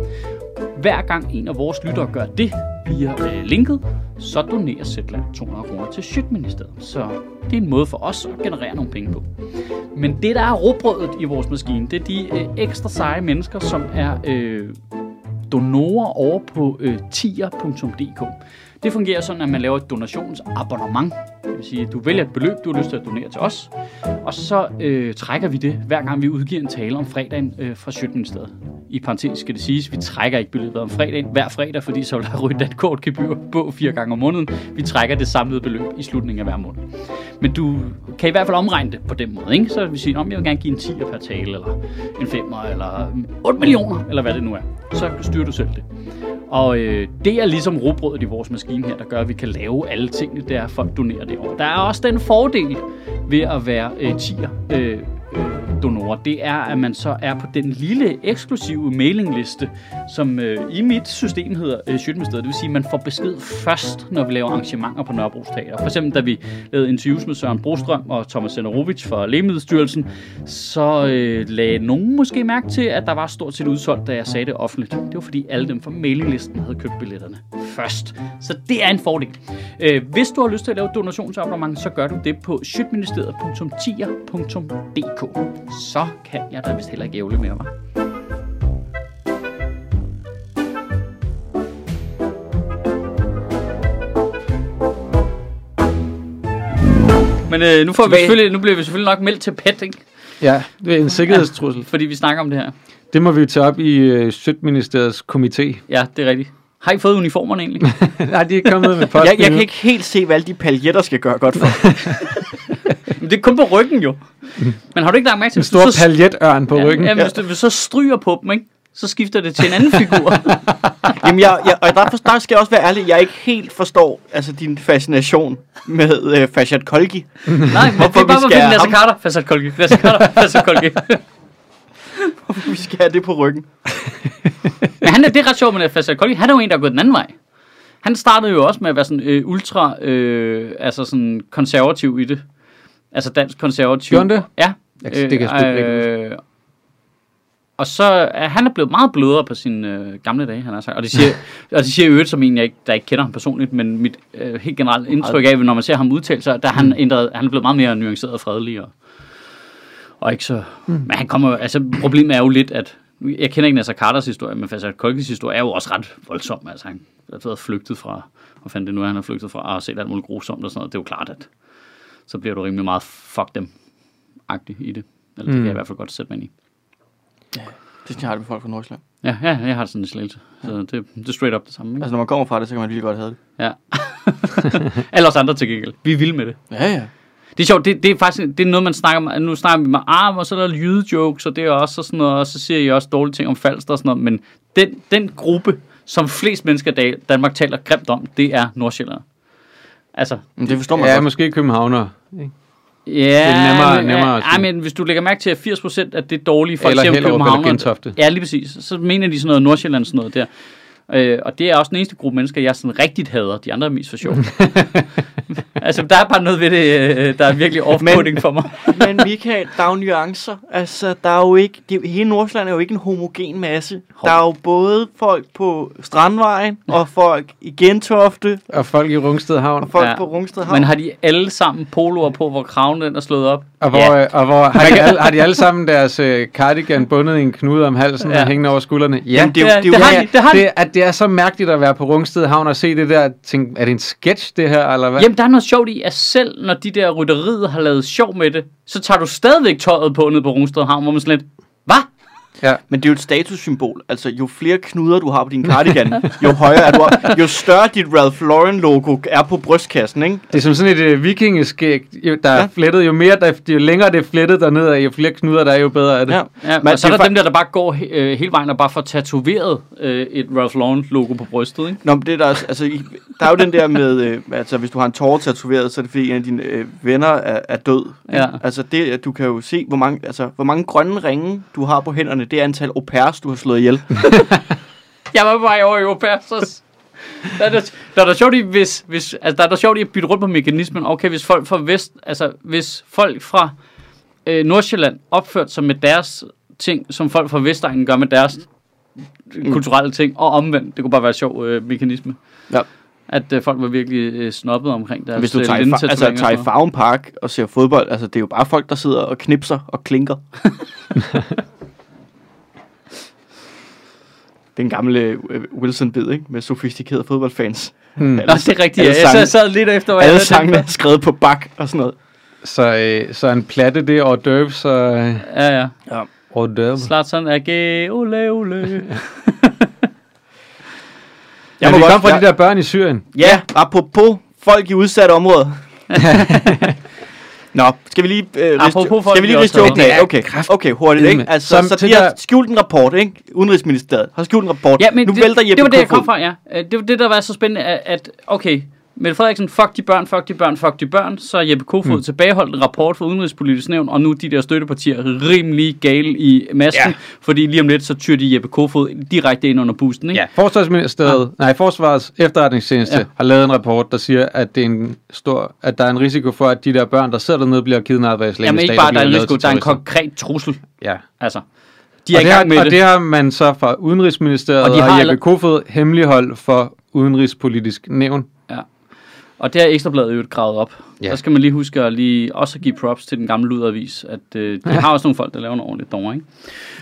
Hver gang en af vores lyttere gør det via øh, linket, så donerer Zetland 200 kroner til Sjøtministeriet. Så det er en måde for os at generere nogle penge på. Men det, der er råbrødet i vores maskine, det er de øh, ekstra seje mennesker, som er øh, donorer over på øh, tier.dk. Det fungerer sådan, at man laver et donationsabonnement. Det vil sige, at du vælger et beløb, du har lyst til at donere til os. Og så øh, trækker vi det, hver gang vi udgiver en tale om fredagen øh, fra 17. sted. I parentes skal det siges, vi trækker ikke beløbet om fredagen hver fredag, fordi så vil der ryge et kort gebyr på fire gange om måneden. Vi trækker det samlede beløb i slutningen af hver måned. Men du kan i hvert fald omregne det på den måde, ikke? Så vil vi sige, om jeg vil gerne give en 10'er per tale, eller en 5'er, eller 8 millioner, eller hvad det nu er. Så styrer du selv det. Og øh, det er ligesom robrødet i vores maskine her, der gør, at vi kan lave alle tingene, der er folk donerer det over. Der er også den fordel ved at være øh, tier øh, øh, donorer, det er, at man så er på den lille eksklusive mailingliste, som øh, i mit system hedder øh, Sjøtministeriet. Det vil sige, at man får besked først, når vi laver arrangementer på Nørrebro Teater. For eksempel, da vi lavede interviews med Søren Brostrøm og Thomas Senderovic fra Lægemiddelstyrelsen, så øh, lagde nogen måske mærke til, at der var stort set udsolgt, da jeg sagde det offentligt. Det var fordi alle dem fra mailinglisten havde købt billetterne først. Så det er en fordel. Øh, hvis du har lyst til at lave et donationsabonnement, så gør du det på sjøtministeriet.tier.dk. Så kan jeg da vist heller ikke ævle mere, hva'? Men øh, nu, får vi
Hvad-
selvfølgelig, nu bliver vi selvfølgelig nok meldt til PET, ikke?
*laughs* Ja, det er en sikkerhedstrussel.
Fordi vi snakker om det her.
Det må vi jo tage op i øh, Sødministeriets komité.
Ja, det er rigtigt. Har I fået uniformerne egentlig?
*laughs* Nej, de er ikke kommet med posten
Jeg, jeg
endnu.
kan ikke helt se, hvad alle de paljetter skal gøre godt for.
Men det er kun på ryggen jo. Men har du ikke lagt mærke til,
En
hvis
stor
du så-
paljetørn på
ja,
ryggen.
Ja, men hvis du hvis du så stryger på dem, ikke? Så skifter det til en anden
*laughs*
figur.
Jamen, jeg, jeg, og der, for, der skal jeg også være ærlig, jeg ikke helt forstår altså, din fascination med øh, Fashad Kolgi.
Nej, hvorfor det er
vi
bare for at
skal
finde Lasse
ham?
Carter. Lasse Kolke. Lasse Carter. Lasse Kolke.
Vi skal have det på ryggen.
Men han er, det er ret sjovt med Lasse Kolke. Han er jo en, der er gået den anden vej. Han startede jo også med at være sådan øh, ultra, øh, altså sådan konservativ i det. Altså dansk konservativ.
Gjorde han det?
Ja.
Jeg kan- det kan jeg sgu ikke
øh, og så er han er blevet meget blødere på sine øh, gamle dage, han har sagt. Og det
*laughs*
siger, og det siger i øvrigt som en, jeg ikke, der ikke kender ham personligt, men mit øh, helt generelt indtryk af, når man ser ham udtale sig, der er
Mm.
han, ændret, han er blevet meget mere nuanceret og fredelig. Og, og ikke så... Mm. Men han kommer jo- altså problemet er jo lidt, at jeg kender ikke Nasser Carters historie, men Fassad Kolkis historie er jo også ret voldsom. Altså, han har været flygtet fra, hvor fanden det nu er, han har flygtet fra, og har set alt muligt grusomt og sådan noget. Det er jo klart, at så bliver du rimelig meget fuck dem-agtig i det. Eller det kan jeg i hvert fald godt sætte mig ind i.
Det synes jeg har det med folk fra Nordsjælland.
Ja, ja jeg har sådan en slægelse. Så det, det er straight up det samme. Ikke?
Altså, når man kommer fra det, så kan man lige godt have det.
Ja. *laughs* Alle os andre til gengæld. Vi er vilde med det.
Ja, ja.
Det er sjovt, det, det er faktisk det er noget, man snakker om. Nu snakker vi med arm, og så er der jydejokes, og det er også sådan noget, og så siger jeg også dårlige ting om falster og sådan noget. Men den, den gruppe, som flest mennesker i dag- Danmark taler grimt om, det er nordsjælland. Altså,
Men det forstår man
Ja,
godt.
måske københavner.
ja, det
nemmere-
men,
nemmere at
ja, ej,
sige.
men hvis du lægger mærke til, at 80% af det dårlige folk
Eller
siger om
Hellerup eller
københavnere-
Gentofte.
Ja, lige præcis. Så mener de sådan noget Nordsjælland sådan noget der. Øh, og det er også den eneste gruppe mennesker, jeg sådan rigtigt hader. De andre er mest for
*laughs*
sjov. altså, der er bare noget ved det, øh, der er virkelig off for mig.
Men Michael, der er jo nuancer. Altså, der er jo ikke... Det, er jo- hele Nordsjælland er jo ikke en homogen masse.
Hov.
Der er jo både folk på Strandvejen, og folk i Gentofte,
Og folk i Rungsted Havn.
og folk
Ja.
ja. på Rungsted Havn.
Men har de alle sammen poloer på, hvor kraven den er slået op?
Og hvor, øh,
Ja.
ja. og *laughs* hvor har, de alle, har de alle sammen deres øh, cardigan bundet i en knude om halsen
Ja.
ja. og hængende over skuldrene? Ja,
Jamen, det er jo-
Ja,
det er jo-
har
ja,
de, det har de.
det, at det er så mærkeligt at være på Rungsted Havn og se det der. Tænk, er det en sketch, det her, eller hvad?
Jamen, der er noget sjovt i, at selv når de der rytteriet har lavet sjov med det, så tager du stadigvæk tøjet på ned på Rungsted Havn, hvor man sådan lidt, hvad?
Ja.
Men det er jo et statussymbol. Altså, jo flere knuder du har på din cardigan, jo højere er du op. Jo større dit Ralph Lauren-logo er på brystkassen, ikke?
Det er som sådan et øh, vikingeskæg, jo- der er
Ja.
flettet. Jo, mere der, jo længere det er flettet dernede, jo flere knuder der er, jo bedre er det.
Ja.
Ja,
Men
men og så er
det
der
er
dem der, der bare går he- øh, hele vejen og bare får tatoveret øh, et Ralph Lauren logo på brystet, ikke?
Nå, men det er der, også- altså, i- der er jo den der med, øh, altså hvis du har en tårer tatoveret, så er det fordi en af dine øh, venner er, er død. ikke?
Ja.
Altså det, at du kan jo se, hvor mange, altså, hvor mange grønne ringe du har på hænderne, det er antal au pairs, du har slået ihjel.
Jeg var bare over i Opersos. *laughs* Der er der, der, er der sjovt i, hvis, hvis, altså, der er der sjovt i at bytte rundt på mekanismen. Okay, hvis folk fra Vest, altså hvis folk fra øh, Nordsjælland opførte sig med deres ting, som folk fra Vestegnen gør med deres
Mm.
kulturelle ting, og omvendt. Det kunne bare være en sjov øh, mekanisme.
Ja.
At øh, folk var virkelig øh, snobbet omkring deres
Hvis du
øh,
tager, i fa-
linnetatoveringer
altså,
og
tager
sådan
i
noget.
Farven Park og ser fodbold, altså det er jo bare folk, der sidder og knipser og
*laughs*
klinker. Den gamle øh, Wilson-bid, ikke? Med sofistikerede fodboldfans.
Hmm.
Nå, det er rigtigt. Ja.
alle
Jeg sad,
sange-
sad lidt efter, hvad
Alle
jeg havde
sangene er skrevet på bak og sådan noget.
Så, øh, så en platte, det er hors d'oeuvre, så... Øh,
tænkt. Ja, ja.
hors d'oeuvre.
Zlatan AG, ole, ole.
Jeg må
vi
vi
kom
komme fra
fra
de der børn i Syrien.
Ja, apropos folk i udsatte
*laughs*
områder. Nå, skal vi lige øh, riste-
Apropos folk
skal vi
i
lige riste
udsatte
joken af? Okay, okay, hurtigt, ikke?
Edme.
Altså,
Som
så
til
de har
der-
skjult en rapport, ikke? Udenrigsministeriet har skjult en rapport.
Ja, men
nu
det,
vælter Jeppe
det var det, jeg
Kofod.
kom fra, ja. Øh, Det var det, der var så spændende, at, at okay, Mette Frederiksen, fuck de børn, fuck de børn, fuck de børn. Så er Jeppe Kofod mm. tilbageholdt en rapport fra Udenrigspolitisk Nævn, og nu er de der støttepartier rimelig gale i masken,
Ja.
ja. fordi lige om lidt, så tyrer de Jeppe Kofod direkte ind under bussen, ikke?
Ja, Forsvarsministeriet, nej, Forsvarets efterretningstjeneste ja.
Ja.
har lavet en rapport, der siger, at, det er en stor, at der er en risiko for, at de der børn, der sidder dernede, bliver kidnappet af islamisk
Jamen ikke
stat og
bare, der er
bliver
en
lavet
risiko,
til
der er en
terrorister.
konkret trussel.
Ja.
Altså, de er
og,
i
det
gang
har,
med
og
det.
det har man så fra Udenrigsministeriet og,
Og de
de
har
og Jeppe
alle-
Kofod hemmelighold for Udenrigspolitisk Nævn.
Og det har Ekstrabladet jo gravet op.
Ja.
Ja. Der skal man lige huske at lige også at give props til den gamle luderavis, at øh, de har også nogle folk, der laver nogle ordentligt dommer, ikke?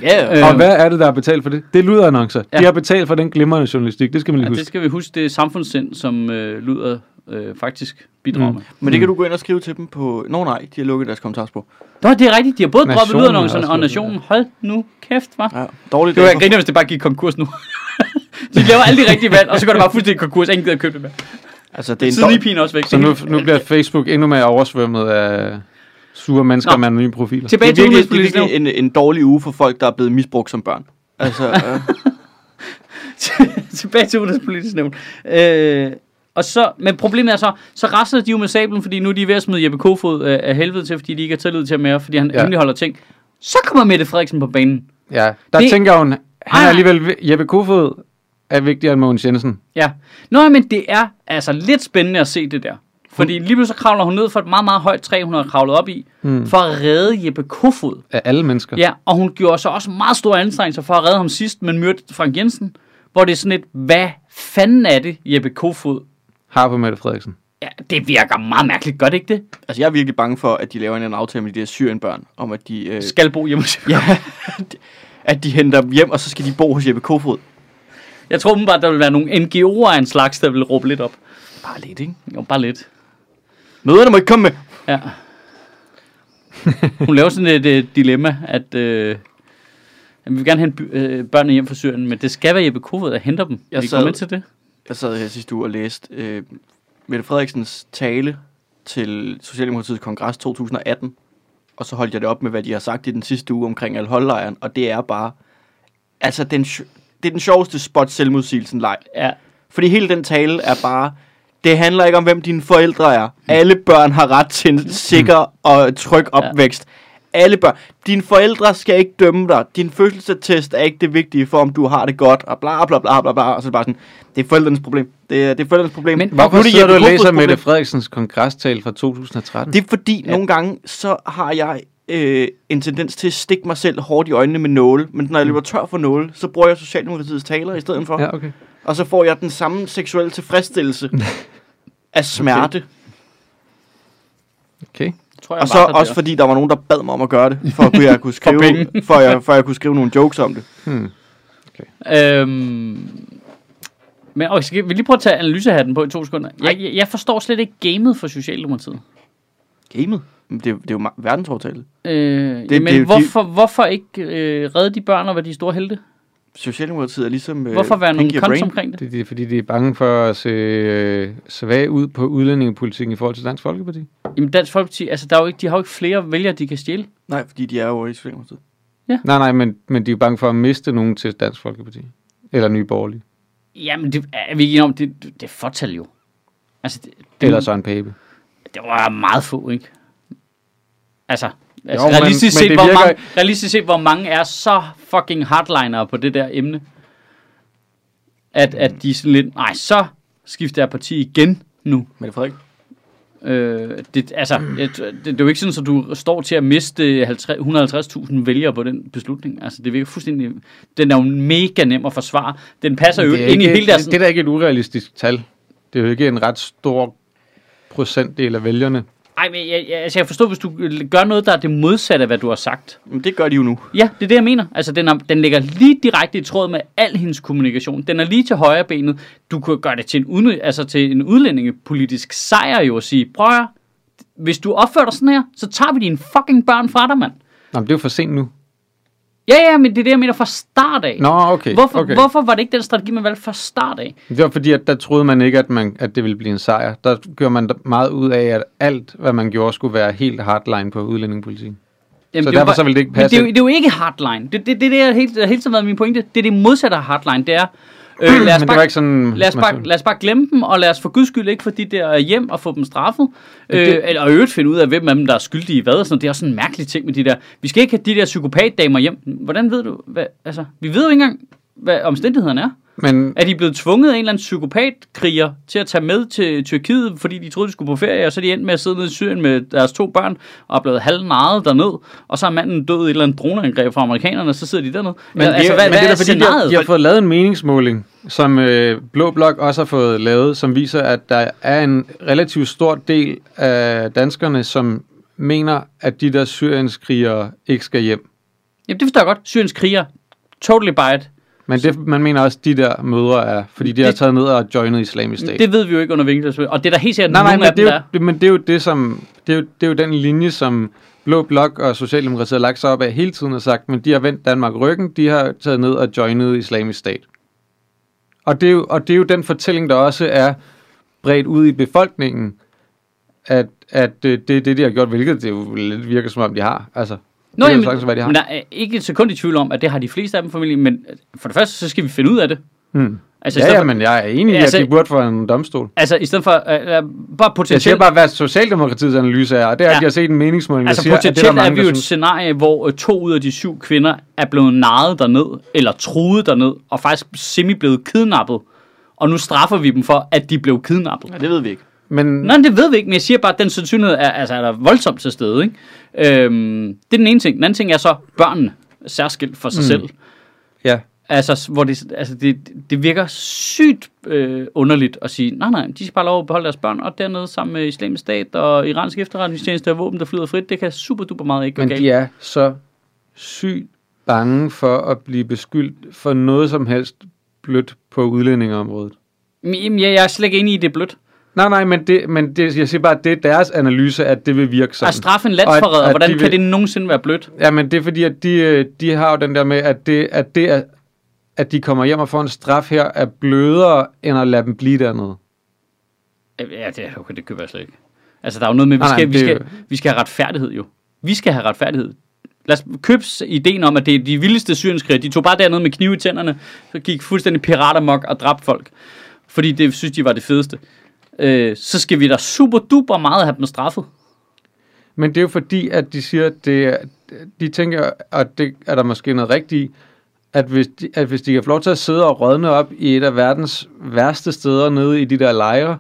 Ja,
Øh,
Øh. Og hvad er det, der er betalt for det? Det er luderannoncer. Ja.
Ja.
De har betalt for den glimrende journalistik, det skal man lige
Ja,
huske.
det skal vi huske, det er samfundssind, som øh, luder øh, faktisk bidrager mm.
Mm.
med.
Men det kan du gå ind og skrive til dem på... Nå nej, de har lukket deres kommentarsprog.
Nå, det er rigtigt, de har både
Nationen
droppet lydannoncerne
har
og
også lukket,
nationen. Hold nu kæft, hva'?
Ja, dårligt.
Det var jeg griner, hvis det bare gik konkurs nu. *laughs* de laver alle de rigtige valg, og så går det bare fuldstændig konkurs, ingen gider at købe det med.
altså, det er en
Siden i
dårlig...
pigen også væk.
Så nu, nu bliver Facebook endnu mere oversvømmet af sure mennesker
Nå.
med anonyme profiler.
Det
Tilbage
er
til
virkelig, det er
udenrigspolitisk nævn.
virkelig en, en dårlig uge for folk, der er blevet misbrugt som børn. *laughs* Altså, øh,
*laughs* tilbage til udenrigspolitisk nævn. Øh, og så, men problemet er så, så rastede de jo med sablen, fordi nu er de ved at smide Jeppe Kofod øh, af helvede til, fordi de ikke har tillid til ham mere, fordi han
Ja.
ja. hemmeligholder ting. Så kommer Mette Frederiksen på banen.
Ja, der det...
Det-
tænker hun, han er
Ej.
alligevel, vi- Jeppe Kofod er vigtigere end Mogens Jensen.
Ja. Nå, men det er altså lidt spændende at se det der. Fordi lige pludselig så kravler hun ned for et meget, meget højt træ, hun har kravlet op i,
Mm.
mm. for at redde Jeppe Kofod.
Af alle mennesker.
Ja, og hun gjorde så også meget store anstrengelser for at redde ham sidst, men mødte Frank Jensen, hvor det er sådan et, hvad fanden er det, Jeppe Kofod?
Har på Mette Frederiksen.
Ja, det virker meget mærkeligt, gør det ikke det?
altså, jeg er virkelig bange for, at de laver en eller anden aftale med de der syrienbørn, om at de... Øh,
skal bo hjemme hos
ja, at- at de henter dem hjem, og så skal de bo hos Jeppe Kofod.
*laughs* Jeg tror åbenbart, der vil være nogle NGO'er af en slags, der vil råbe lidt op.
Bare lidt, ikke?
Jo, bare lidt.
Møderne må ikke komme med.
Ja. Hun laver sådan et øh, dilemma, at øh, vi vil gerne hente by- øh, børnene hjem fra Syrien, men det skal være Jeppe Kofod, der henter dem.
Jeg
Jeg vi
sad-
kommer ind til det.
Jeg sad her sidste uge og læste øh, Mette Frederiksens tale til Socialdemokratiets kongres 2018, og så holdt jeg det op med, hvad de har sagt i den sidste uge omkring al holdlejren, og det er bare... Altså, den, sj- det er den sjoveste spot selvmodsigelsen leg.
Ja.
Fordi hele den tale er bare... Det handler ikke om, hvem dine forældre
Mm.
er. Alle børn har ret til en sikker og tryg opvækst. Alle børn. Dine forældre skal ikke dømme dig. Din fødselsattest er ikke det vigtige for, om du har det godt. Og bla bla bla bla bla. Og så er det bare sådan, det er forældrenes problem. Det er, det er forældrenes problem.
Men
Hvorfor
Nu er det
sidder du og
Jeppe
læser
Kofods
Mette
problem.
Frederiksens kongresstal fra 2013?
Det er fordi, ja. nogle gange, så har jeg øh, en tendens til at stikke mig selv hårdt i øjnene med nåle. Men når jeg løber tør for nåle, så bruger jeg Socialdemokratiets taler i stedet for.
Mm. Ja, okay.
Og så får jeg den samme seksuelle *laughs* tilfredsstillelse af smerte.
okay.
Tror jeg bare,
Og så
at
også
det
fordi der var nogen, der bad mig om at gøre det, for at kunne jeg kunne skrive,
penge.
for jeg, for jeg kunne skrive nogle jokes om det.
Hmm.
er- Øhm, men okay, skal vi lige prøve at tage analysehatten på i to sekunder? Jeg, jeg, jeg forstår slet ikke gamet for Socialdemokratiet.
Gamet? Men Det, er jo- det er jo ma- verdensovertale.
Øh, det,
det
jamen,
er jo de-
det, hvorfor, hvorfor ikke øh, redde de børn og være de store helte?
Socialdemokratiet er ligesom... Øh,
Hvorfor være
Pinky
nogle
og Brain.
kons omkring det?
Det, det er fordi, de er bange for at se øh, svage ud på udlændingepolitikken i forhold til Dansk Folkeparti.
Jamen Dansk Folkeparti, altså der er jo ikke, de har jo ikke flere vælgere, de kan stjæle.
Nej, fordi de er jo i Socialdemokratiet.
Nej, nej, men, men de er bange for at miste nogen til Dansk Folkeparti. Eller Nye Borgerlige.
Jamen det er vi ikke enige om, det, det er fortal jo. Altså det, det,
Eller Søren Pape.
det var meget få, ikke? Altså, altså
Jo, men-
realistisk,
men
set,
det
hvor
virker-
mange, realistisk set, hvor mange er så fucking hardliner på det der emne, at, at de er sådan lidt, nej, så skifter jeg parti igen nu.
Mette Frederik?
Øh, det, altså, jeg, det, det er jo ikke sådan, at du står til at miste 50, 150.000 vælgere på den beslutning. Altså, det virker fuldstændig... Den er jo mega nem at forsvare. Den passer jo
Det er
ind i
ikke-
hele deres...
det, det er da ikke et urealistisk tal. Det er jo ikke en ret stor procentdel af vælgerne.
Ej, men jeg, jeg, altså, jeg forstår, hvis du gør noget, der er det modsatte af, hvad du har sagt.
Men det gør de jo nu.
Ja, det er det, jeg mener. Altså, den, er, den ligger lige direkte i tråd med al hendes kommunikation. Den er lige til højre benet. Du kunne gøre det til en, uden, altså til en udlændingepolitisk sejr jo at sige, prøv at høre, hvis du opfører dig sådan her, så tager vi dine fucking børn fra dig, mand.
Nå, men det er jo for sent nu.
Ja, ja, men det er det, jeg mener fra start af.
Nå, okay.
Hvorfor,
okay.
okay. hvorfor var det ikke den strategi, man valgte fra start af?
Det var fordi, at der troede man ikke, at, man, at det ville blive en sejr. Der gjorde man da meget ud af, at alt, hvad man gjorde, skulle være helt hardline på udlændingepolitikken.
Jamen,
Så
er jo
derfor så ville det ikke
men
passe
Det er, jo,
ind. *clears throat*
det er jo ikke hardline. Det er det, det, det, er hele, det har hele tiden været min pointe. Det er det modsatte af hardline. Det er, Øh, lad, os
Men det var
bare,
ikke sådan...
lad, os
man
bare,
så-
lad os bare glemme dem, og lad os for guds skyld ikke få de der hjem og få dem straffet. Øh,
det-
eller- og i øvrigt finde ud af, hvem af dem, der er skyldige i hvad. Og sådan. Det er også sådan en mærkelig ting med de der... Vi skal ikke have de der psykopatdamer hjem. Hvordan ved du... Hvad, altså, vi ved jo ikke engang, hvad omstændighederne er.
Men
Er de blevet tvunget af en eller anden psykopatkriger til at tage med til Tyrkiet, fordi de troede, de skulle på ferie, og så er de endt med at sidde nede i Syrien med deres to børn, og er blevet halvnaret derned, og så er manden død i et eller andet droneangreb fra amerikanerne, og så sidder de dernede. Men,
det-
altså, hvad,
men
hvad
det
er,
er da
er
fordi, de har,
scenariet?
de har fået lavet en meningsmåling, som øh, Blå Blok også har fået lavet, som viser, at der er en relativt stor del af danskerne, som mener, at de der syrienskrigere ikke skal hjem.
Jamen, det forstår jeg godt. Syriens kriger. Totally by it.
Men det, man mener også, at de der mødre er, fordi de har
Det-
taget ned og joinet islamisk stat.
Det ved vi jo ikke under vinkelsved. Og det er der helt sikkert
nej, nej,
nogen
men
af
det,
dem,
er
der
jo, det, men det er jo det, som, det er jo, det er jo den linje, som Blå Blok og Socialdemokratiet har lagt sig op af hele tiden og sagt, men de har vendt Danmark ryggen, de har taget ned og joinet islamisk stat. Og det, er jo, og det er jo den fortælling, der også er bredt ud i befolkningen, at, at øh, det er det, de har gjort, hvilket det jo lidt virker som om, de har. Altså,
Nå,
det
jamen,
kan sagtens være, de har.
men der er ikke et sekund i tvivl om, at det har de fleste af dem formentlig, men øh, for det første, så skal vi finde ud af det.
hmm.
Altså, i
Ja,
stedet
ja,
for,
men jeg er enig i,
Altså-
at de burde få en domstol.
altså, i stedet for øh, øh, bare
Jeg siger
potentielt...
bare, hvad Socialdemokratiets analyse er, og det er, at
Ja.
de har set en meningsmåling, der
Altså
siger, at det er der
potentielt er,
mange,
vi
der
jo et
synes.
scenarie, hvor øh, to ud af de syv kvinder er blevet narret derned, eller truet derned, og faktisk semi blevet kidnappet. Og nu straffer vi dem for, at de blev kidnappet.
Ja, det ved vi ikke.
Men
Nå, men det ved vi ikke, men jeg siger bare, at den sandsynlighed er, altså, er der voldsomt til stede. Ikke? Øhm, det er den ene ting. Den anden ting er så børnene, særskilt for sig mm. selv.
ja,
Altså, s- hvor det, altså det, det virker sygt øh, underligt at sige, nej, nej, de skal bare have lov at beholde deres børn, og dernede sammen med islamisk stat og iransk efterretningstjeneste og våben, der flyder frit, det kan super duper meget ikke gå
Men
galt.
de er så sygt bange for at blive beskyldt for noget som helst blødt på udlændingeområdet.
Jamen, jeg, jeg er slet ikke enig i, at det er blødt.
Nej, nej, men, det, men det, jeg siger bare, at det er deres analyse, at det vil virke sådan.
At straffe en
Og at-
landsforræder,
at
hvordan
de
kan
vil-
det nogensinde være blødt?
Ja, men det er fordi, at de, øh, de har jo den der med, at det, at det er, at de kommer hjem og får en straf her, er blødere, end at lade dem blive dernede.
Øh, Ja, det, okay, det køber jeg slet ikke. Altså, der er jo noget med, vi
Nej, nej,
skal, vi
det-
skal, vi skal have retfærdighed jo. Vi skal have retfærdighed. Lad os købe ideen om, at det er de vildeste syrienskrigere. De tog bare dernede med knive i tænderne, så gik fuldstændig piratermok og dræbte folk. Fordi det synes de var det fedeste. Øh, så skal vi da super duper meget have dem straffet.
Men det er jo fordi, at de siger, at det, er- de tænker, og det er der måske noget rigtigt i, at hvis, de, at hvis de kan få lov til at sidde og rådne op i et af verdens værste steder nede i de der lejre,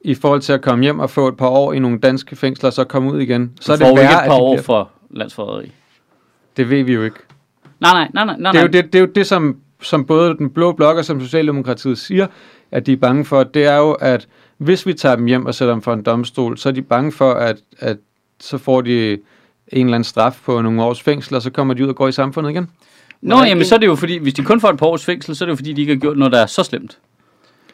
i forhold til at komme hjem og få et par år i nogle danske fængsler, og så komme ud igen, så
Så
er
det får
det
vi ikke
værre,
et
at
par
de
år
bliver,
for landsforræderi.
Det ved vi jo ikke.
Nej, nej, nej, nej, Ah, nej.
Det er jo det, det, er jo det som, som både den blå blok og som Socialdemokratiet siger, at de er bange for, det er jo, at hvis vi tager dem hjem og sætter dem for en domstol, så er de bange for, at, at så får de en eller anden straf på nogle års fængsel, og så kommer de ud og går i samfundet igen.
Nå, jamen, så er det jo fordi, hvis de kun får et par års fængsel, så er det jo fordi, de ikke har gjort noget, der er så slemt.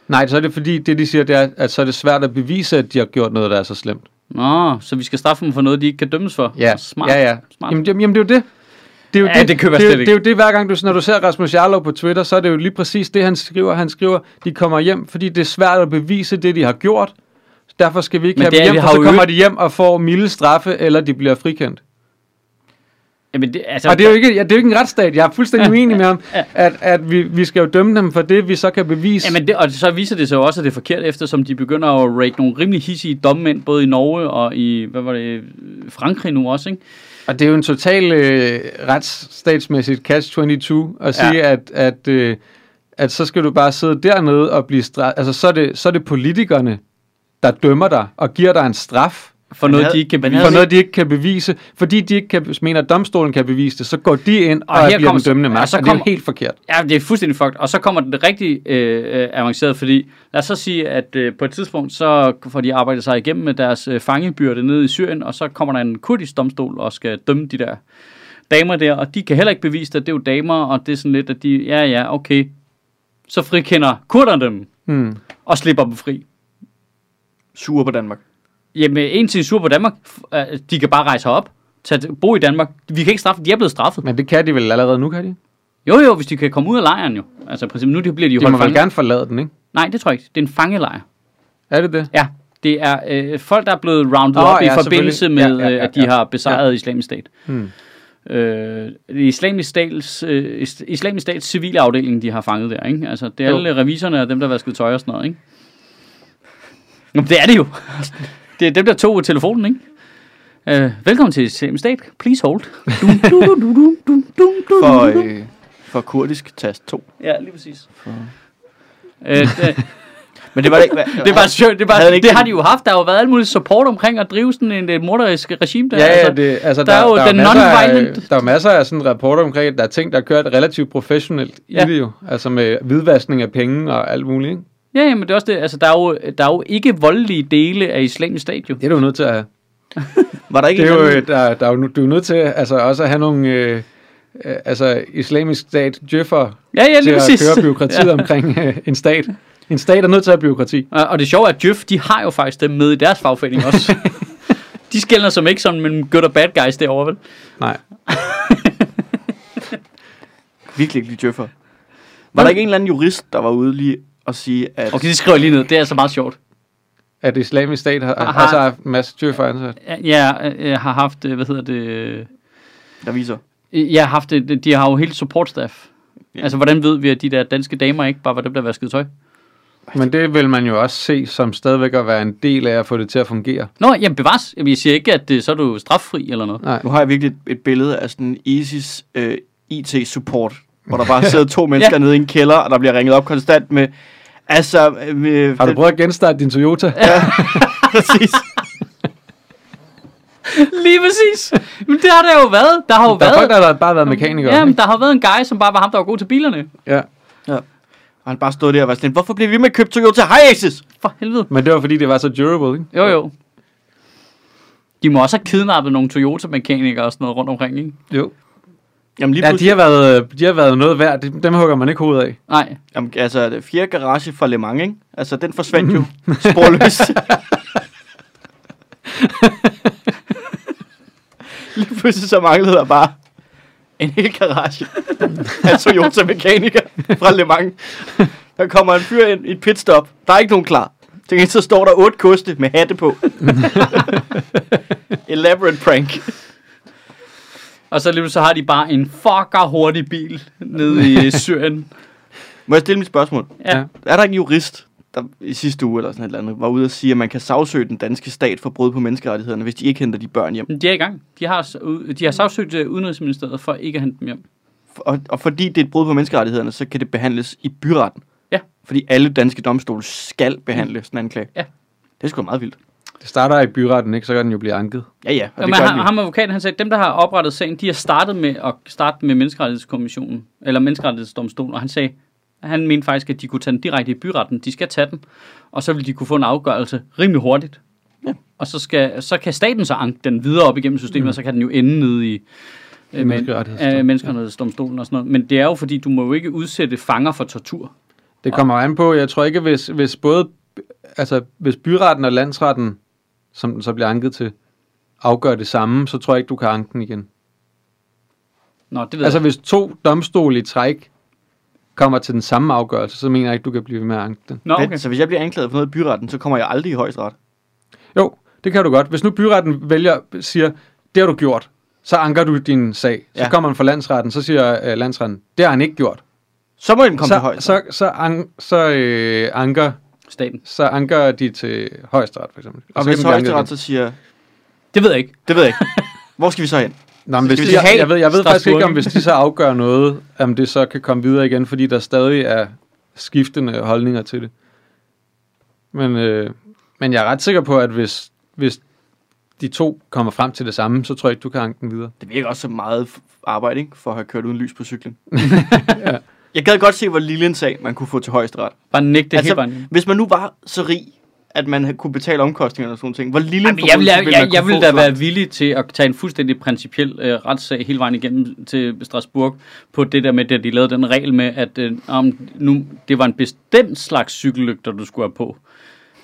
Nej, så er det fordi, det de siger, det er, at så er det svært at bevise, at de har gjort noget, der er så slemt.
Nå, så vi skal straffe dem for noget, de ikke kan dømmes for. Smart.
ja, ja.
Smart.
Jamen, jamen, jamen, det er jo det. Det er jo
Ja, det køber jeg
det, er jo-
slet ikke.
Det er jo det, hver gang du, når du ser Rasmus Jarlov på Twitter, så er det jo lige præcis det, han skriver. Han skriver, de kommer hjem, fordi det er svært at bevise det, de har gjort. Derfor skal vi ikke
Men
have
det
dem
er,
hjem,
vi
for
har
så
jo
kommer
øvet-
de hjem og får milde straffe, eller de bliver frikendt.
Jamen, det, altså,
Og det er jo ikke, ja, det er jo ikke en retsstat. Jeg er fuldstændig uenig med ham, at, at vi, vi skal jo dømme dem for det, vi så kan bevise.
Jamen, det, og så viser det sig jo også, at det er forkert, eftersom de begynder at rake nogle rimelig hissige domme ind, både i Norge og i, hvad var det, Frankrig nu også, ikke?
Og det er jo en total øh, retsstatsmæssigt catch-22 at sige, at, at, øh, at så skal du bare sidde dernede og blive straffet. Altså, så er, det, så er det politikerne, der dømmer dig og giver dig en straf
For
Men
noget,
havde-
de ikke kan
men
bevise.
for noget, de ikke kan bevise. Fordi de ikke kan, mener, at domstolen kan bevise det, så går de ind og,
Og her
og bliver
kommer-
den dømmende
og
magt,
så
og, og det er jo
kommer-
helt forkert.
Ja, det er fuldstændig fucked. Og så kommer den rigtig øh, øh, avanceret, fordi lad os så sige, at øh, på et tidspunkt, så får de arbejdet sig igennem med deres øh, fangebyrde nede i Syrien, og så kommer der en kurdisk domstol og skal dømme de der damer der, og de kan heller ikke bevise det, at det er jo damer, og det er sådan lidt, at de, ja ja, okay, så frikender kurderne dem,
Hmm.
og slipper dem fri.
Sure på Danmark.
Jamen, en til sur på Danmark, f- øh, de kan bare rejse herop, tage, til- bo i Danmark. Vi kan ikke straffe, dem. de er blevet straffet.
Men det kan de vel allerede nu, kan de?
Jo, jo, hvis de kan komme ud af lejren jo. Altså, i princippet, nu de- bliver de jo
De må
holdt
vel
fange.
gerne forlade den, ikke?
Nej, det tror jeg ikke. Det er en fangelejr.
Er det det?
Ja, det er øh, folk, der er blevet rounded
Åh,
oh, op ja,
ja,
i forbindelse med, øh,
selvfølgelig.
ja, ja, ja, ja. at de har besejret ja. islamisk stat.
Hmm.
øh, islamisk, stats, øh, is- islamisk stats civile afdeling, de har fanget der, ikke? Altså, det er
Jo.
alle reviserne og dem, der vaskede tøj og sådan noget, ikke? Nå, men det er det jo. *laughs* Det er dem, der tog telefonen, ikke? Øh, velkommen til Islamisk Stat. Please hold. Dum, du, du, du, du, du, du, du,
For,
du, du.
øh, for kurdisk tast 2.
Ja, lige præcis. Øh, det,
*laughs* Men det var det ikke. Hvad,
det er bare sjovt. Det, er
Havde det
bare,
ikke
det har
den-
de jo haft. Der har jo været alt muligt support omkring at drive sådan en uh, morderisk regime der.
Ja, ja,
altså.
det, altså,
der er jo den
masser af-
non-violent-
Der er masser af sådan rapporter omkring, at der er ting, der er kørt relativt professionelt ja.
Ja.
i det jo. Altså med hvidvaskning af penge og alt muligt, ikke?
Ja, ja, men det er også det. Altså, der er jo, der er jo ikke voldelige dele af islamisk stat, jo.
Det er du nødt til at have.
var der ikke
Det er
en
jo,
eller anden-
øh, der, der er jo, nu- du er nødt til altså, også at have nogle... Øh, øh, altså islamisk stat djøffer
Ja, ja,
til
lige
at
præcis.
køre byråkratiet ja. omkring øh, en stat. En stat er nødt til at have byråkrati.
*laughs* Og og det sjove er, at Djøf, de har jo faktisk dem med i deres fagforening også. *laughs* de skældner som ikke sådan mellem good og bad guys derovre, vel?
Nej.
virkelig ikke lige djøffer. Var der ikke en eller anden jurist, der var ude lige og sige, at...
Okay, det skriver jeg lige ned. Det er altså meget sjovt.
At islamisk stat har, altså,
Aha.
har også haft en masse djøffer ansat.
Ja, jeg har haft, øh, hvad hedder det... øh,
Der viser.
Jeg har haft, det- de har jo helt support staff.
Ja.
Altså, hvordan ved vi, at de der danske damer ikke bare var dem, der vaskede tøj?
Men det vil man jo også se som stadigvæk at være en del af at få det til at fungere.
Nå, jamen bevares. Jamen, jeg siger ikke, at det, så er du straffri eller noget.
Nej.
Nu har jeg virkelig et, et billede af sådan ISIS øh, IT-support, hvor der bare sidder to
*laughs*
mennesker
Ja.
nede i en kælder, og der bliver ringet op konstant med... Altså, øh, med,
Har du prøvet at genstarte din Toyota?
*laughs* præcis.
*laughs* Lige præcis. Men det har der jo været. Der har jo
Der er folk,
været...
der har bare været mekanikere.
Jamen, der har været en guy, som bare var ham, der var god til bilerne.
Ja.
Og han bare stod der og var sådan, hvorfor bliver vi med at købe Toyota Hej ISIS?
For helvede.
Men det var fordi, det var så durable, ikke?
Jo, jo. De må også have kidnappet nogle Toyota-mekanikere og sådan noget rundt omkring, ikke?
Jo.
Jamen lige
Ja, de
pludselig,
har været, øh, de har været noget værd. Dem- Dem hugger man ikke hovedet af.
Nej.
jamen, altså det fjerde garage fra Le Mans, ikke? Altså den forsvandt jo sporløst. lige pludselig så manglede der bare en hel garage af Toyota mekaniker fra Le Mans. Der kommer en fyr ind i et pitstop. Der er ikke nogen klar. Til gengæld så står der otte koste med hatte på. Elaborate prank.
Og så lige så har de bare en fucker hurtig bil nede i øh, Syrien.
Må jeg stille mit spørgsmål?
Ja.
Ja.
Er der ikke en jurist, der i sidste uge eller sådan et eller andet, var ude og sige, at man kan sagsøge den danske stat for brud på menneskerettighederne, hvis de ikke henter de børn hjem?
Men De er i gang. De har, s- u- de har sagsøgt øh, Udenrigsministeriet for ikke at hente dem hjem.
Og, og fordi det er et brud på menneskerettighederne, så kan det behandles i byretten.
Ja.
Fordi alle danske domstole skal behandle sådan en anklage.
Ja.
Det er sgu da meget vildt.
Det starter i byretten, ikke? Så kan den jo blive anket.
Ja, ja. Og
Jamen,
det gør
han,
han,
ham advokaten, han sagde, at dem, der har oprettet sagen, de har startet med at starte med menneskerettighedskommissionen, eller menneskerettighedsdomstolen, og han sagde, at han mente faktisk, at de kunne tage den direkte i byretten. De skal tage den, og så vil de kunne få en afgørelse rimelig hurtigt.
Ja.
Og så, skal, så kan staten så anke den videre op igennem systemet, mm. og så kan den jo ende nede i øh, men-
menneskerettighedsdomstolen.
øh, menneskerettighedsdomstolen og sådan noget. Men det er jo fordi, du må jo ikke udsætte fanger for tortur.
Det kommer an på, jeg tror ikke, hvis, hvis både altså, hvis byretten og landsretten, som den så bliver anket til, afgør det samme, så tror jeg ikke, du kan anke den igen.
Nå, det ved altså,
Altså
jeg.
hvis to domstole i træk kommer til den samme afgørelse, så mener jeg ikke, du kan blive ved med at anke den.
Nå, okay.
okay. Så hvis jeg bliver anklaget for noget i byretten, så kommer jeg aldrig i højesteret.
Jo, det kan du godt. Hvis nu byretten vælger, siger, det har du gjort, så anker du din sag. Så
Ja.
ja. kommer den fra landsretten, så siger øh, landsretten, det har han ikke gjort.
Så må den komme til
Så,
højesteret.
så, så, an, så, øh, anker,
Staten.
så anker de til højesteret, for eksempel.
og
så
hvis
kan den blive anket
højesteret
igen.
så siger,
Det ved jeg ikke.
det ved jeg ikke. Hvor skal vi så hen?
Nå, men hvis
skal
de,
vi
til
jeg, jeg ved, jeg ved faktisk ikke, om
Strasbourg.
hvis de så afgør noget, om det så kan komme videre igen, fordi der stadig er skiftende holdninger til det. Men, øh, men jeg er ret sikker på, at hvis, hvis de to kommer frem til det samme, så tror jeg ikke, du kan anke den videre.
Det virker også som meget f- arbejde, ikke? For at have kørt uden lys på
*laughs*
cyklen. Jeg gad godt se, hvor lille en sag man kunne få til højesteret.
Bare nægte det altså,
altså,
hele vejen.
hvis man nu var så rig, at man havde- kunne betale omkostningerne og sådan ting, hvor lille
Jamen,
en
jeg vil, jeg,
forbrydelse ville man
jeg,
kunne
jeg vil
få
da
for-
være villig til at tage en fuldstændig principiel øh, retssag hele vejen igennem til Strasbourg på det der med, at de lavede den regel med, at øh, om nu, det var en bestemt slags cykellygter, du skulle have på.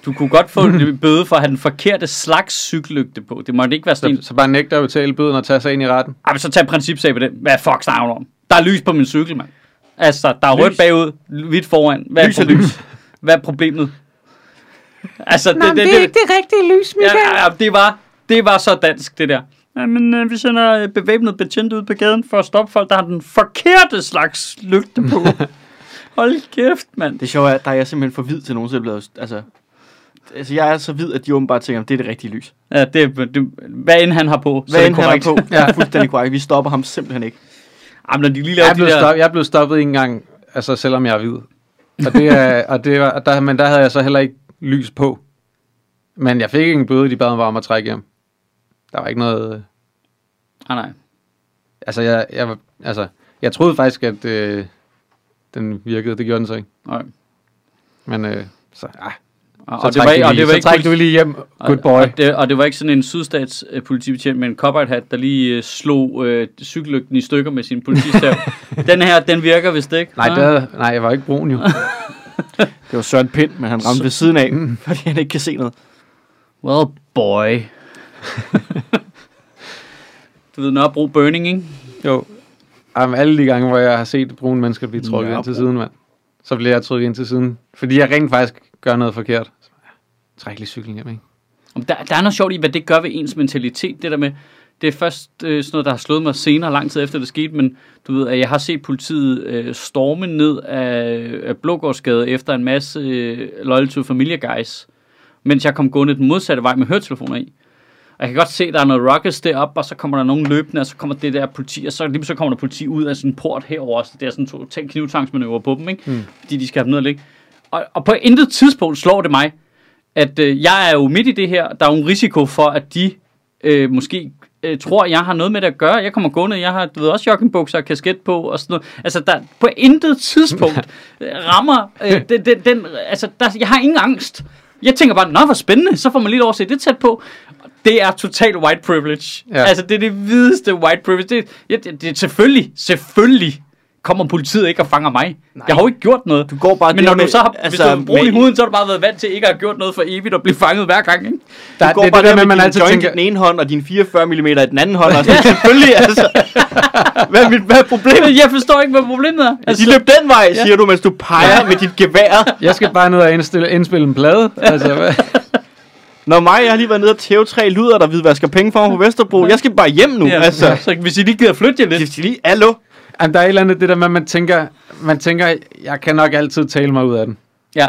Du kunne godt få en bøde for at have den forkerte slags cykellygte på. Det måtte ikke være sådan
Så,
en,
så bare nægter at betale bøden og tage sig ind i retten.
"Ej, men så tag principsag på den. Hvad fuck snakker du om? Der er lys på min cykel, mand. Altså, der er rødt
Lys.
bagud, hvidt foran. Hvad er,
Lys er
problemet? Hvad er problemet? Altså,
Nå, det, det, det, det er ikke det rigtige lys, Michael.
Ja, ja, det var, det var så dansk, det der. Jamen, øh, vi sender øh, bevæbnet betjente ud på gaden for at stoppe folk, der har den forkerte slags lygte på. *laughs* Hold kæft, mand.
Det sjove er, at der er jeg simpelthen for hvid til nogensinde blevet... Altså, altså, jeg er så hvid, at de åbenbart tænker, at det er det rigtige lys.
Ja, det, det, hvad end han har på, så
Hvad
er
end
det
han
korrekt.
er på, ja. fuldstændig korrekt. Vi stopper ham simpelthen ikke.
*laughs* Jamen, når de lige
Jeg
laver
er
de
blevet,
der...
stop, jeg er blevet stoppet en gang, altså selvom jeg er hvid. Og det *laughs* er, og det var, der, men der havde jeg så heller ikke lys på. Men jeg fik ingen bøde, de bad mig bare om at trække hjem. Der var ikke noget... øh,
Ah, nej.
Altså, jeg, jeg, var- altså, jeg troede faktisk, at øh, den virkede. Det gjorde den så ikke.
nej.
Men øh, så, ah,
Og,
så
og, det var, ikke-
du
og det
lige,
var
så
ikke
træk du lige hjem, good
Og,
boy.
og, det, og det var ikke sådan en sydstats øh, politibetjent med en cowboy hat, der lige øh, slog øh, cykellygten i stykker med sin
*laughs*
politistav. den her, den virker vist ikke.
Nej,
Nå.
det havde, nej, jeg var ikke
*laughs*
brun jo.
Det var Søren Pind, men han ramte ved siden af, fordi han ikke kan se noget.
Well, boy. *laughs* du ved, Nørrebro Burning, ikke?
jo. Jamen, alle de gange, hvor jeg har set brune mennesker blive trukket
Ja,
ind til
brun.
siden, mand. Så bliver jeg trukket ind til siden. Fordi jeg rent faktisk gør noget forkert. Så, ja, træk lige cyklen hjem, ikke?
Om Der, der er noget sjovt i, hvad det gør ved ens mentalitet, det der med, det er først øh, sådan noget, der har slået mig senere, lang tid efter det skete, men du ved, at jeg har set politiet øh, storme ned af, af Blågårdsgade efter en masse øh, Loyal to Familia Guys, mens jeg kom gående den modsatte vej med høretelefoner i. Og jeg kan godt se, at der er noget ruckus deroppe, og så kommer der nogen løbende, og så kommer det der politi, og så lige så kommer der politi ud af sådan en port herover, så det er sådan to tænk knivtangsmanøvre på dem, ikke? Mm. fordi de skal have dem ned og ligge. Og, og på intet tidspunkt slår det mig, at øh, jeg er jo midt i det her, der er jo en risiko for, at de øh, måske øh, tror, jeg har noget med det at gøre. Jeg kommer gående, jeg har du ved, også joggingbukser og kasket på og sådan noget. Altså, der, på intet
*laughs*
tidspunkt øh, rammer øh, den, den, den, altså, der, jeg har ingen angst. Jeg tænker bare, nå, hvor spændende, så får man lige lov at se det tæt på. Det er total white privilege. Ja.
Ja.
Altså, det er det hvideste white privilege. Det, ja, det, det, selvfølgelig, selvfølgelig kommer politiet ikke og fanger mig. Nej. Jeg har jo ikke gjort noget.
Du går bare
Men når
der
du så har, altså, hvis du har brun i
med-
huden, så har du bare været vant til ikke at have gjort noget for evigt og blive fanget hver gang, ikke?
Der,
Du går
det er
bare
det der med,
med,
at man altid
joint
tænker...
i den ene hånd, og din 44 mm i den anden hånd. Og *laughs* sådan, selvfølgelig, altså. Hvad er, *laughs* mit, hvad er problemet?
Jeg forstår ikke, hvad problemet er.
Altså, de løb den vej, siger du, mens du peger med dit gevær.
Jeg skal bare ned og indstille, indspille en
*laughs*
plade. Altså, hvad?
Når mig, jeg har lige været nede og tæve tre luder, der hvidvasker penge for mig på Vesterbro. Jeg skal bare hjem nu,
ja,
altså.
altså. Så hvis I lige gider flytte jer lidt.
Gift lige, allo.
Jamen, der er et eller andet det der med, at man tænker, man tænker, jeg kan nok altid tale mig ud af den.
Ja,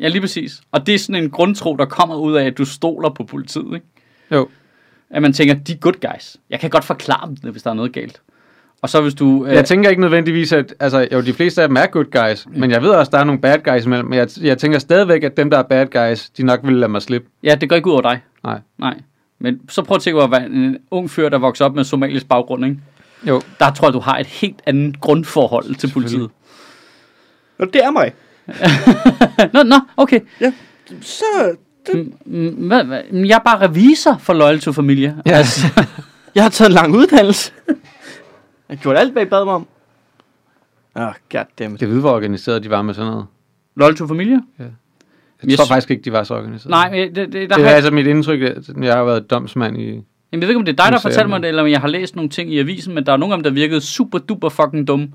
ja lige præcis. Og det er sådan en grundtro, der kommer ud af, at du stoler på politiet, ikke?
Jo.
At man tænker, de er good guys. Jeg kan godt forklare dem, hvis der er noget galt. Og så hvis du... Øh,
Jeg tænker ikke nødvendigvis, at altså, jo, de fleste af dem er good guys, men jeg ved også, der er nogle bad guys imellem. Men jeg, jeg tænker stadigvæk, at dem, der er bad guys, de nok vil lade mig slippe.
ja, det går ikke ud over dig.
Nej.
Nej. Men så prøv at tænke over, hvad en ung fyr, der vokser op med somalisk baggrund, ikke?
Jo.
Der tror jeg, du har et helt andet grundforhold til politiet. *laughs*
Nå, det er mig.
Nå, nå, okay.
Så...
Mm, Hvad, hvad? Men Jeg er bare revisor for Loyal to Familia.
Ja, yes.
*laughs* Jeg har taget en lang uddannelse. Jeg gjorde alt, hvad I bad mig om. Åh, oh, goddammit.
det ved, hvor organiseret de var med sådan noget.
Loyal to Familia?
Jeg
Jeg
tror
sy-
faktisk ikke, de var så organiseret.
Nej, men det, det, der
det
har
er
jeg,
altså mit indtryk, at jeg har været domsmand i...
jamen, jeg ved ikke, om det er dig, der
Nu ser
fortæller
jeg
mig det, eller om jeg har læst nogle ting i avisen, men der er nogle af dem, der virkede super duper fucking dumme.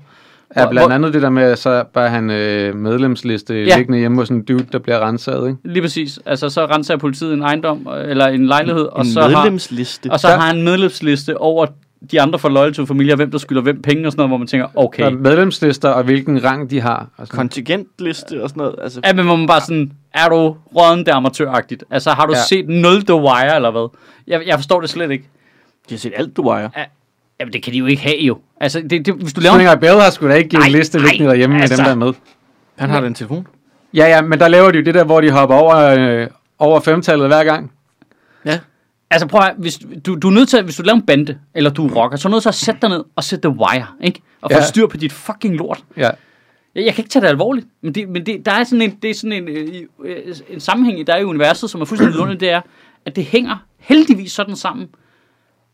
Ja,
Hvor-
blandt
hvor-
andet det der med, at så bare han øh, medlemsliste
Ja.
ja. liggende hjemme hos en dude, der bliver renset, ikke?
Lige præcis. Altså, så renser politiet en ejendom, øh, eller en lejlighed, og,
En
så har,
medlemsliste.
og så
Der-
har han en medlemsliste over de andre fra Loyal to Familia, hvem der skylder hvem penge og sådan noget, hvor man tænker,
Der er
okay.
medlemslister og hvilken rang de har. Og sådan.
Kontingentliste og sådan noget. Altså,
Ja, men hvor man bare sådan, er du rådende amatøragtigt? Altså, har du ja.
Ja.
set 0 The Wire, eller hvad? Jeg, jeg forstår det slet ikke.
de har set alt, du ejer.
Jamen, det kan de jo ikke have, jo. Altså, det, det, hvis du laver en
Svinger Bell har sgu da ikke givet en
Ej,
liste liggende
ej,
derhjemme med
altså.
dem, der er med.
Han har den telefon.
Ja, ja, men der laver de jo det der, hvor de hopper over, øh, over femtallet hver gang.
Ja.
Altså prøv at, høre, hvis du, du er nødt til, at- hvis du laver en bande, eller du er rocker, så er du nødt til at sætte dig ned og sætte The Wire, ikke? Og få
Ja.
styr på dit fucking lort.
Ja.
Jeg, jeg kan ikke tage det alvorligt, men, det, men det, der er sådan en, det er sådan en, øh, i- øh, en sammenhæng, i- der er i universet, som er fuldstændig vidunderlig, det er, at det hænger heldigvis sådan sammen,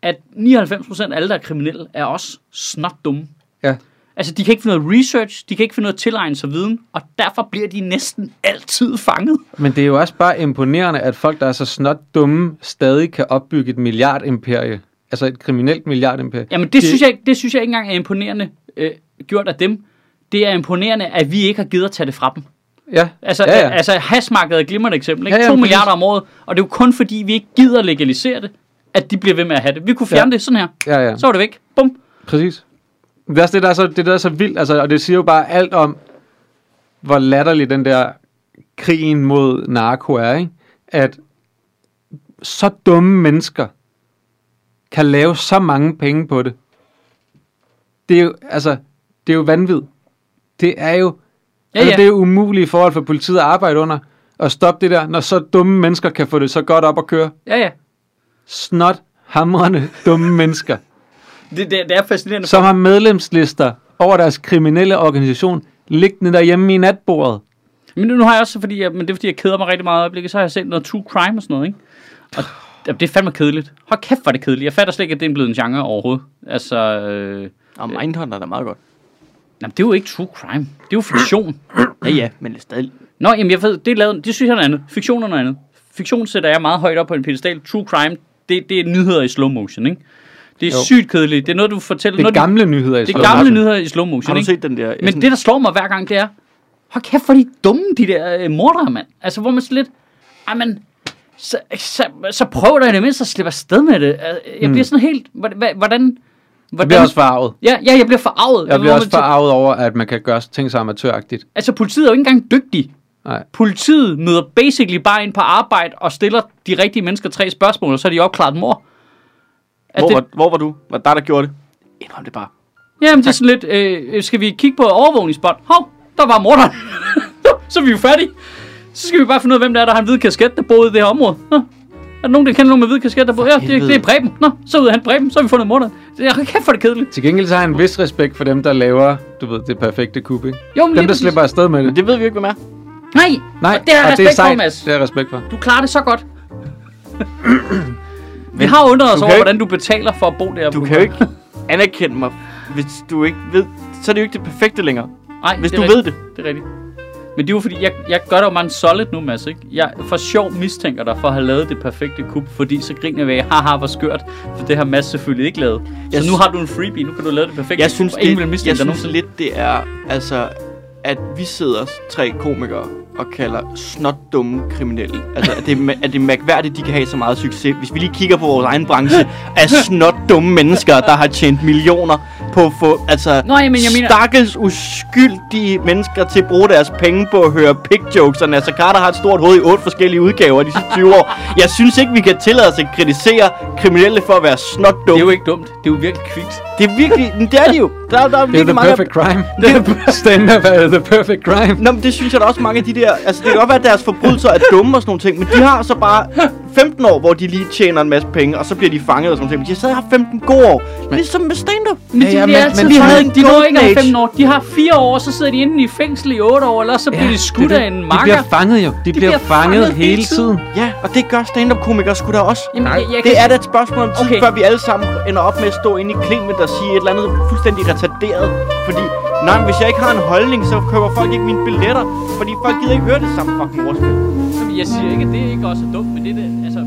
at 99% af alle, der er kriminelle, er også snot dumme.
Ja.
Altså, de kan ikke finde noget research, de kan ikke finde noget tilegnelse af viden, og derfor bliver de næsten altid fanget.
Men det er jo også bare imponerende, at folk, der er så snot dumme, stadig kan opbygge et milliardimperie. Altså et kriminelt milliardimperie.
Jamen, det, det... Synes jeg, ikke- det synes jeg ikke engang er imponerende øh, gjort af dem. Det er imponerende, at vi ikke har givet at tage det fra dem.
Ja,
Altså,
ja, ja.
altså hashmarkedet er et glimrende eksempel. Ikke?
Ja, ja,
2
præcis.
milliarder om året, og det er jo kun fordi, vi ikke gider legalisere det, at de bliver ved med at have det. Vi kunne fjerne
Ja.
ja. det sådan her.
Ja, ja.
Så var det væk. Bum.
Præcis. Det er også det, der er så, det, der er så vildt, altså, og det siger jo bare alt om, hvor latterlig den der krigen mod narko er, ikke? at så dumme mennesker kan lave så mange penge på det. Det er jo, altså, det er jo vanvid. Det er jo,
Ja,
ja, altså,
ja.
det er jo umulige forhold for politiet at arbejde under, at stoppe det der, når så dumme mennesker kan få det så godt op at køre.
Ja, ja.
Snot, hamrende, dumme *laughs* mennesker
Det, det, det er fascinerende.
som har medlemslister over deres kriminelle organisation liggende derhjemme i natbordet.
Men nu har jeg også, fordi jeg, men det er fordi, jeg keder mig rigtig meget i øjeblikket, så har jeg set noget true crime og sådan noget, ikke? Og jamen, det er fandme kedeligt. Hold kæft, hvor er det kedeligt. Jeg fatter slet ikke, at det er blevet en genre overhovedet. Altså, øh,
Og Mindhunter er da meget godt.
jamen, det er jo ikke true crime. Det er jo fiktion.
Ja, ja, men det er stadig...
Nå, jamen, jeg ved, det, er lavet, det synes jeg er noget andet. Fiktion er noget andet. Fiktion sætter jeg meget højt op på en pedestal. True crime, det, det er nyheder i slow motion, ikke? Det er
Jo.
jo. sygt kedeligt. Det er noget, du fortæller.
Det er
noget, du-
gamle nyheder i
det er
Slow
gamle
Motion.
nyheder i slow motion,
Har du
ikke?
set den der...
Men det, der slår mig hver gang, det er, hold kæft, hvor er de dumme, de der øh, mordere, mand. Altså, hvor man så lidt, ej, men, så, så, så prøv da i det mindste at slippe afsted med det. Altså, Jeg bliver sådan helt, hvordan... hvordan
Hmm. Jeg bliver også forarvet.
Ja, ja, jeg bliver forarvet.
Jeg bliver
Hvor
også
man tænker,
forarvet over, at man kan gøre ting så amatøragtigt.
Altså, politiet er jo ikke engang dygtig.
Nej.
Politiet møder basically bare ind på arbejde og stiller de rigtige mennesker tre spørgsmål, og så er de opklaret et mor.
hvor, var, hvor var du? Var det dig, der gjorde det? Indrøm det bare.
Jamen, det er sådan lidt, øh, skal vi kigge på overvågningsbånd? Hov, der var morderen. *laughs* så er vi jo færdige. Så skal vi bare finde ud af, hvem der er, der har en hvid kasket, der boede i det her område. Nå. Er der nogen, der kender nogen med hvid kasket, der boede? Ja, det,
helvede.
det er Preben. Nå, så ud af han Preben, så har vi fundet morderen. Det er kæft for det kedeligt.
Til gengæld så har jeg en vis respekt for dem, der laver, du ved, det perfekte kub, ikke?
Jo, men
Dem,
lige
der
præcis.
slipper afsted med det.
Men det ved vi jo ikke, hvem er.
Nej,
Nej,
og det er
og
respekt for,
sejt.
Mads.
Det er respekt for.
Du klarer det så
*clears throat*
godt. vi har undret os
du
over,
kan ikke-
hvordan du betaler for at bo der.
Du kan jo ikke anerkende mig, hvis du ikke ved... Så er det jo ikke det perfekte længere.
Nej,
Hvis
det er
du
rigtigt.
ved det.
Det er rigtigt. Men det er jo fordi, jeg, jeg gør dig jo meget solid nu, Mads, ikke? Jeg for sjov mistænker dig for at have lavet det perfekte kup, fordi så griner vi af, haha, hvor skørt, for det har Mads selvfølgelig ikke lavet. Så
Jeg
nu har du en freebie, nu kan du lave det perfekte
Jeg synes,
kup, og ingen
det,
vil mistænke
jeg
dig
synes
nogensinde.
lidt, det er, altså, at vi sidder os tre komikere og kalder snotdumme kriminelle. Altså, er det, ma- er det mærkværdigt, de kan have så meget succes? Hvis vi lige kigger på vores egen branche af snotdumme mennesker, der har tjent millioner på at få, altså,
Nå, jamen, jeg mener-
stakkels uskyldige mennesker til at bruge deres penge på at høre pick jokes, og Nasser Carter har et stort hoved i otte forskellige udgaver de sidste 20 år. Jeg synes ikke, vi kan tillade os at kritisere kriminelle for at være snotdumme.
Det er jo ikke dumt, det er jo virkelig kvikt.
Det er virkelig, men det er de jo. Der, der er
Det er
virkelig
the
mange...
perfect crime.
Det
Stand-up er the perfect crime.
Nå, men det synes jeg da også mange af de der... Altså, det kan godt være, at deres forbrydelser er dumme og sådan nogle ting, men de har så bare 15 år, hvor de lige tjener en masse penge, og så bliver de fanget og sådan noget. Men de har stadig haft 15 gode år. Ligesom med stand-up.
Men
Ja,
de,
ja,
ja,
men-
altid
men
men,
sådan
de
en
når
golden
ikke
age.
15 år. De har 4 år, så sidder de inde i fængsel i 8 år, eller så bliver de skudt af en
De
makker.
bliver fanget jo. De, de bliver,
bliver
fanget,
fanget hele
hele tiden.
Ja, og det gør stand-up-komikere sgu da også.
Jamen, jeg, jeg
Det
kan-
er da et spørgsmål om tid,
Okay.
okay. før vi alle sammen ender op med at stå inde i klimet og sige et eller andet fuldstændig retarderet. Fordi, nej, men hvis jeg ikke har en holdning, så køber folk ikke mine billetter, fordi folk gider ikke høre det samme fucking ordspil.
Jeg siger ikke, at det ikke også er dumt, men det er det, altså...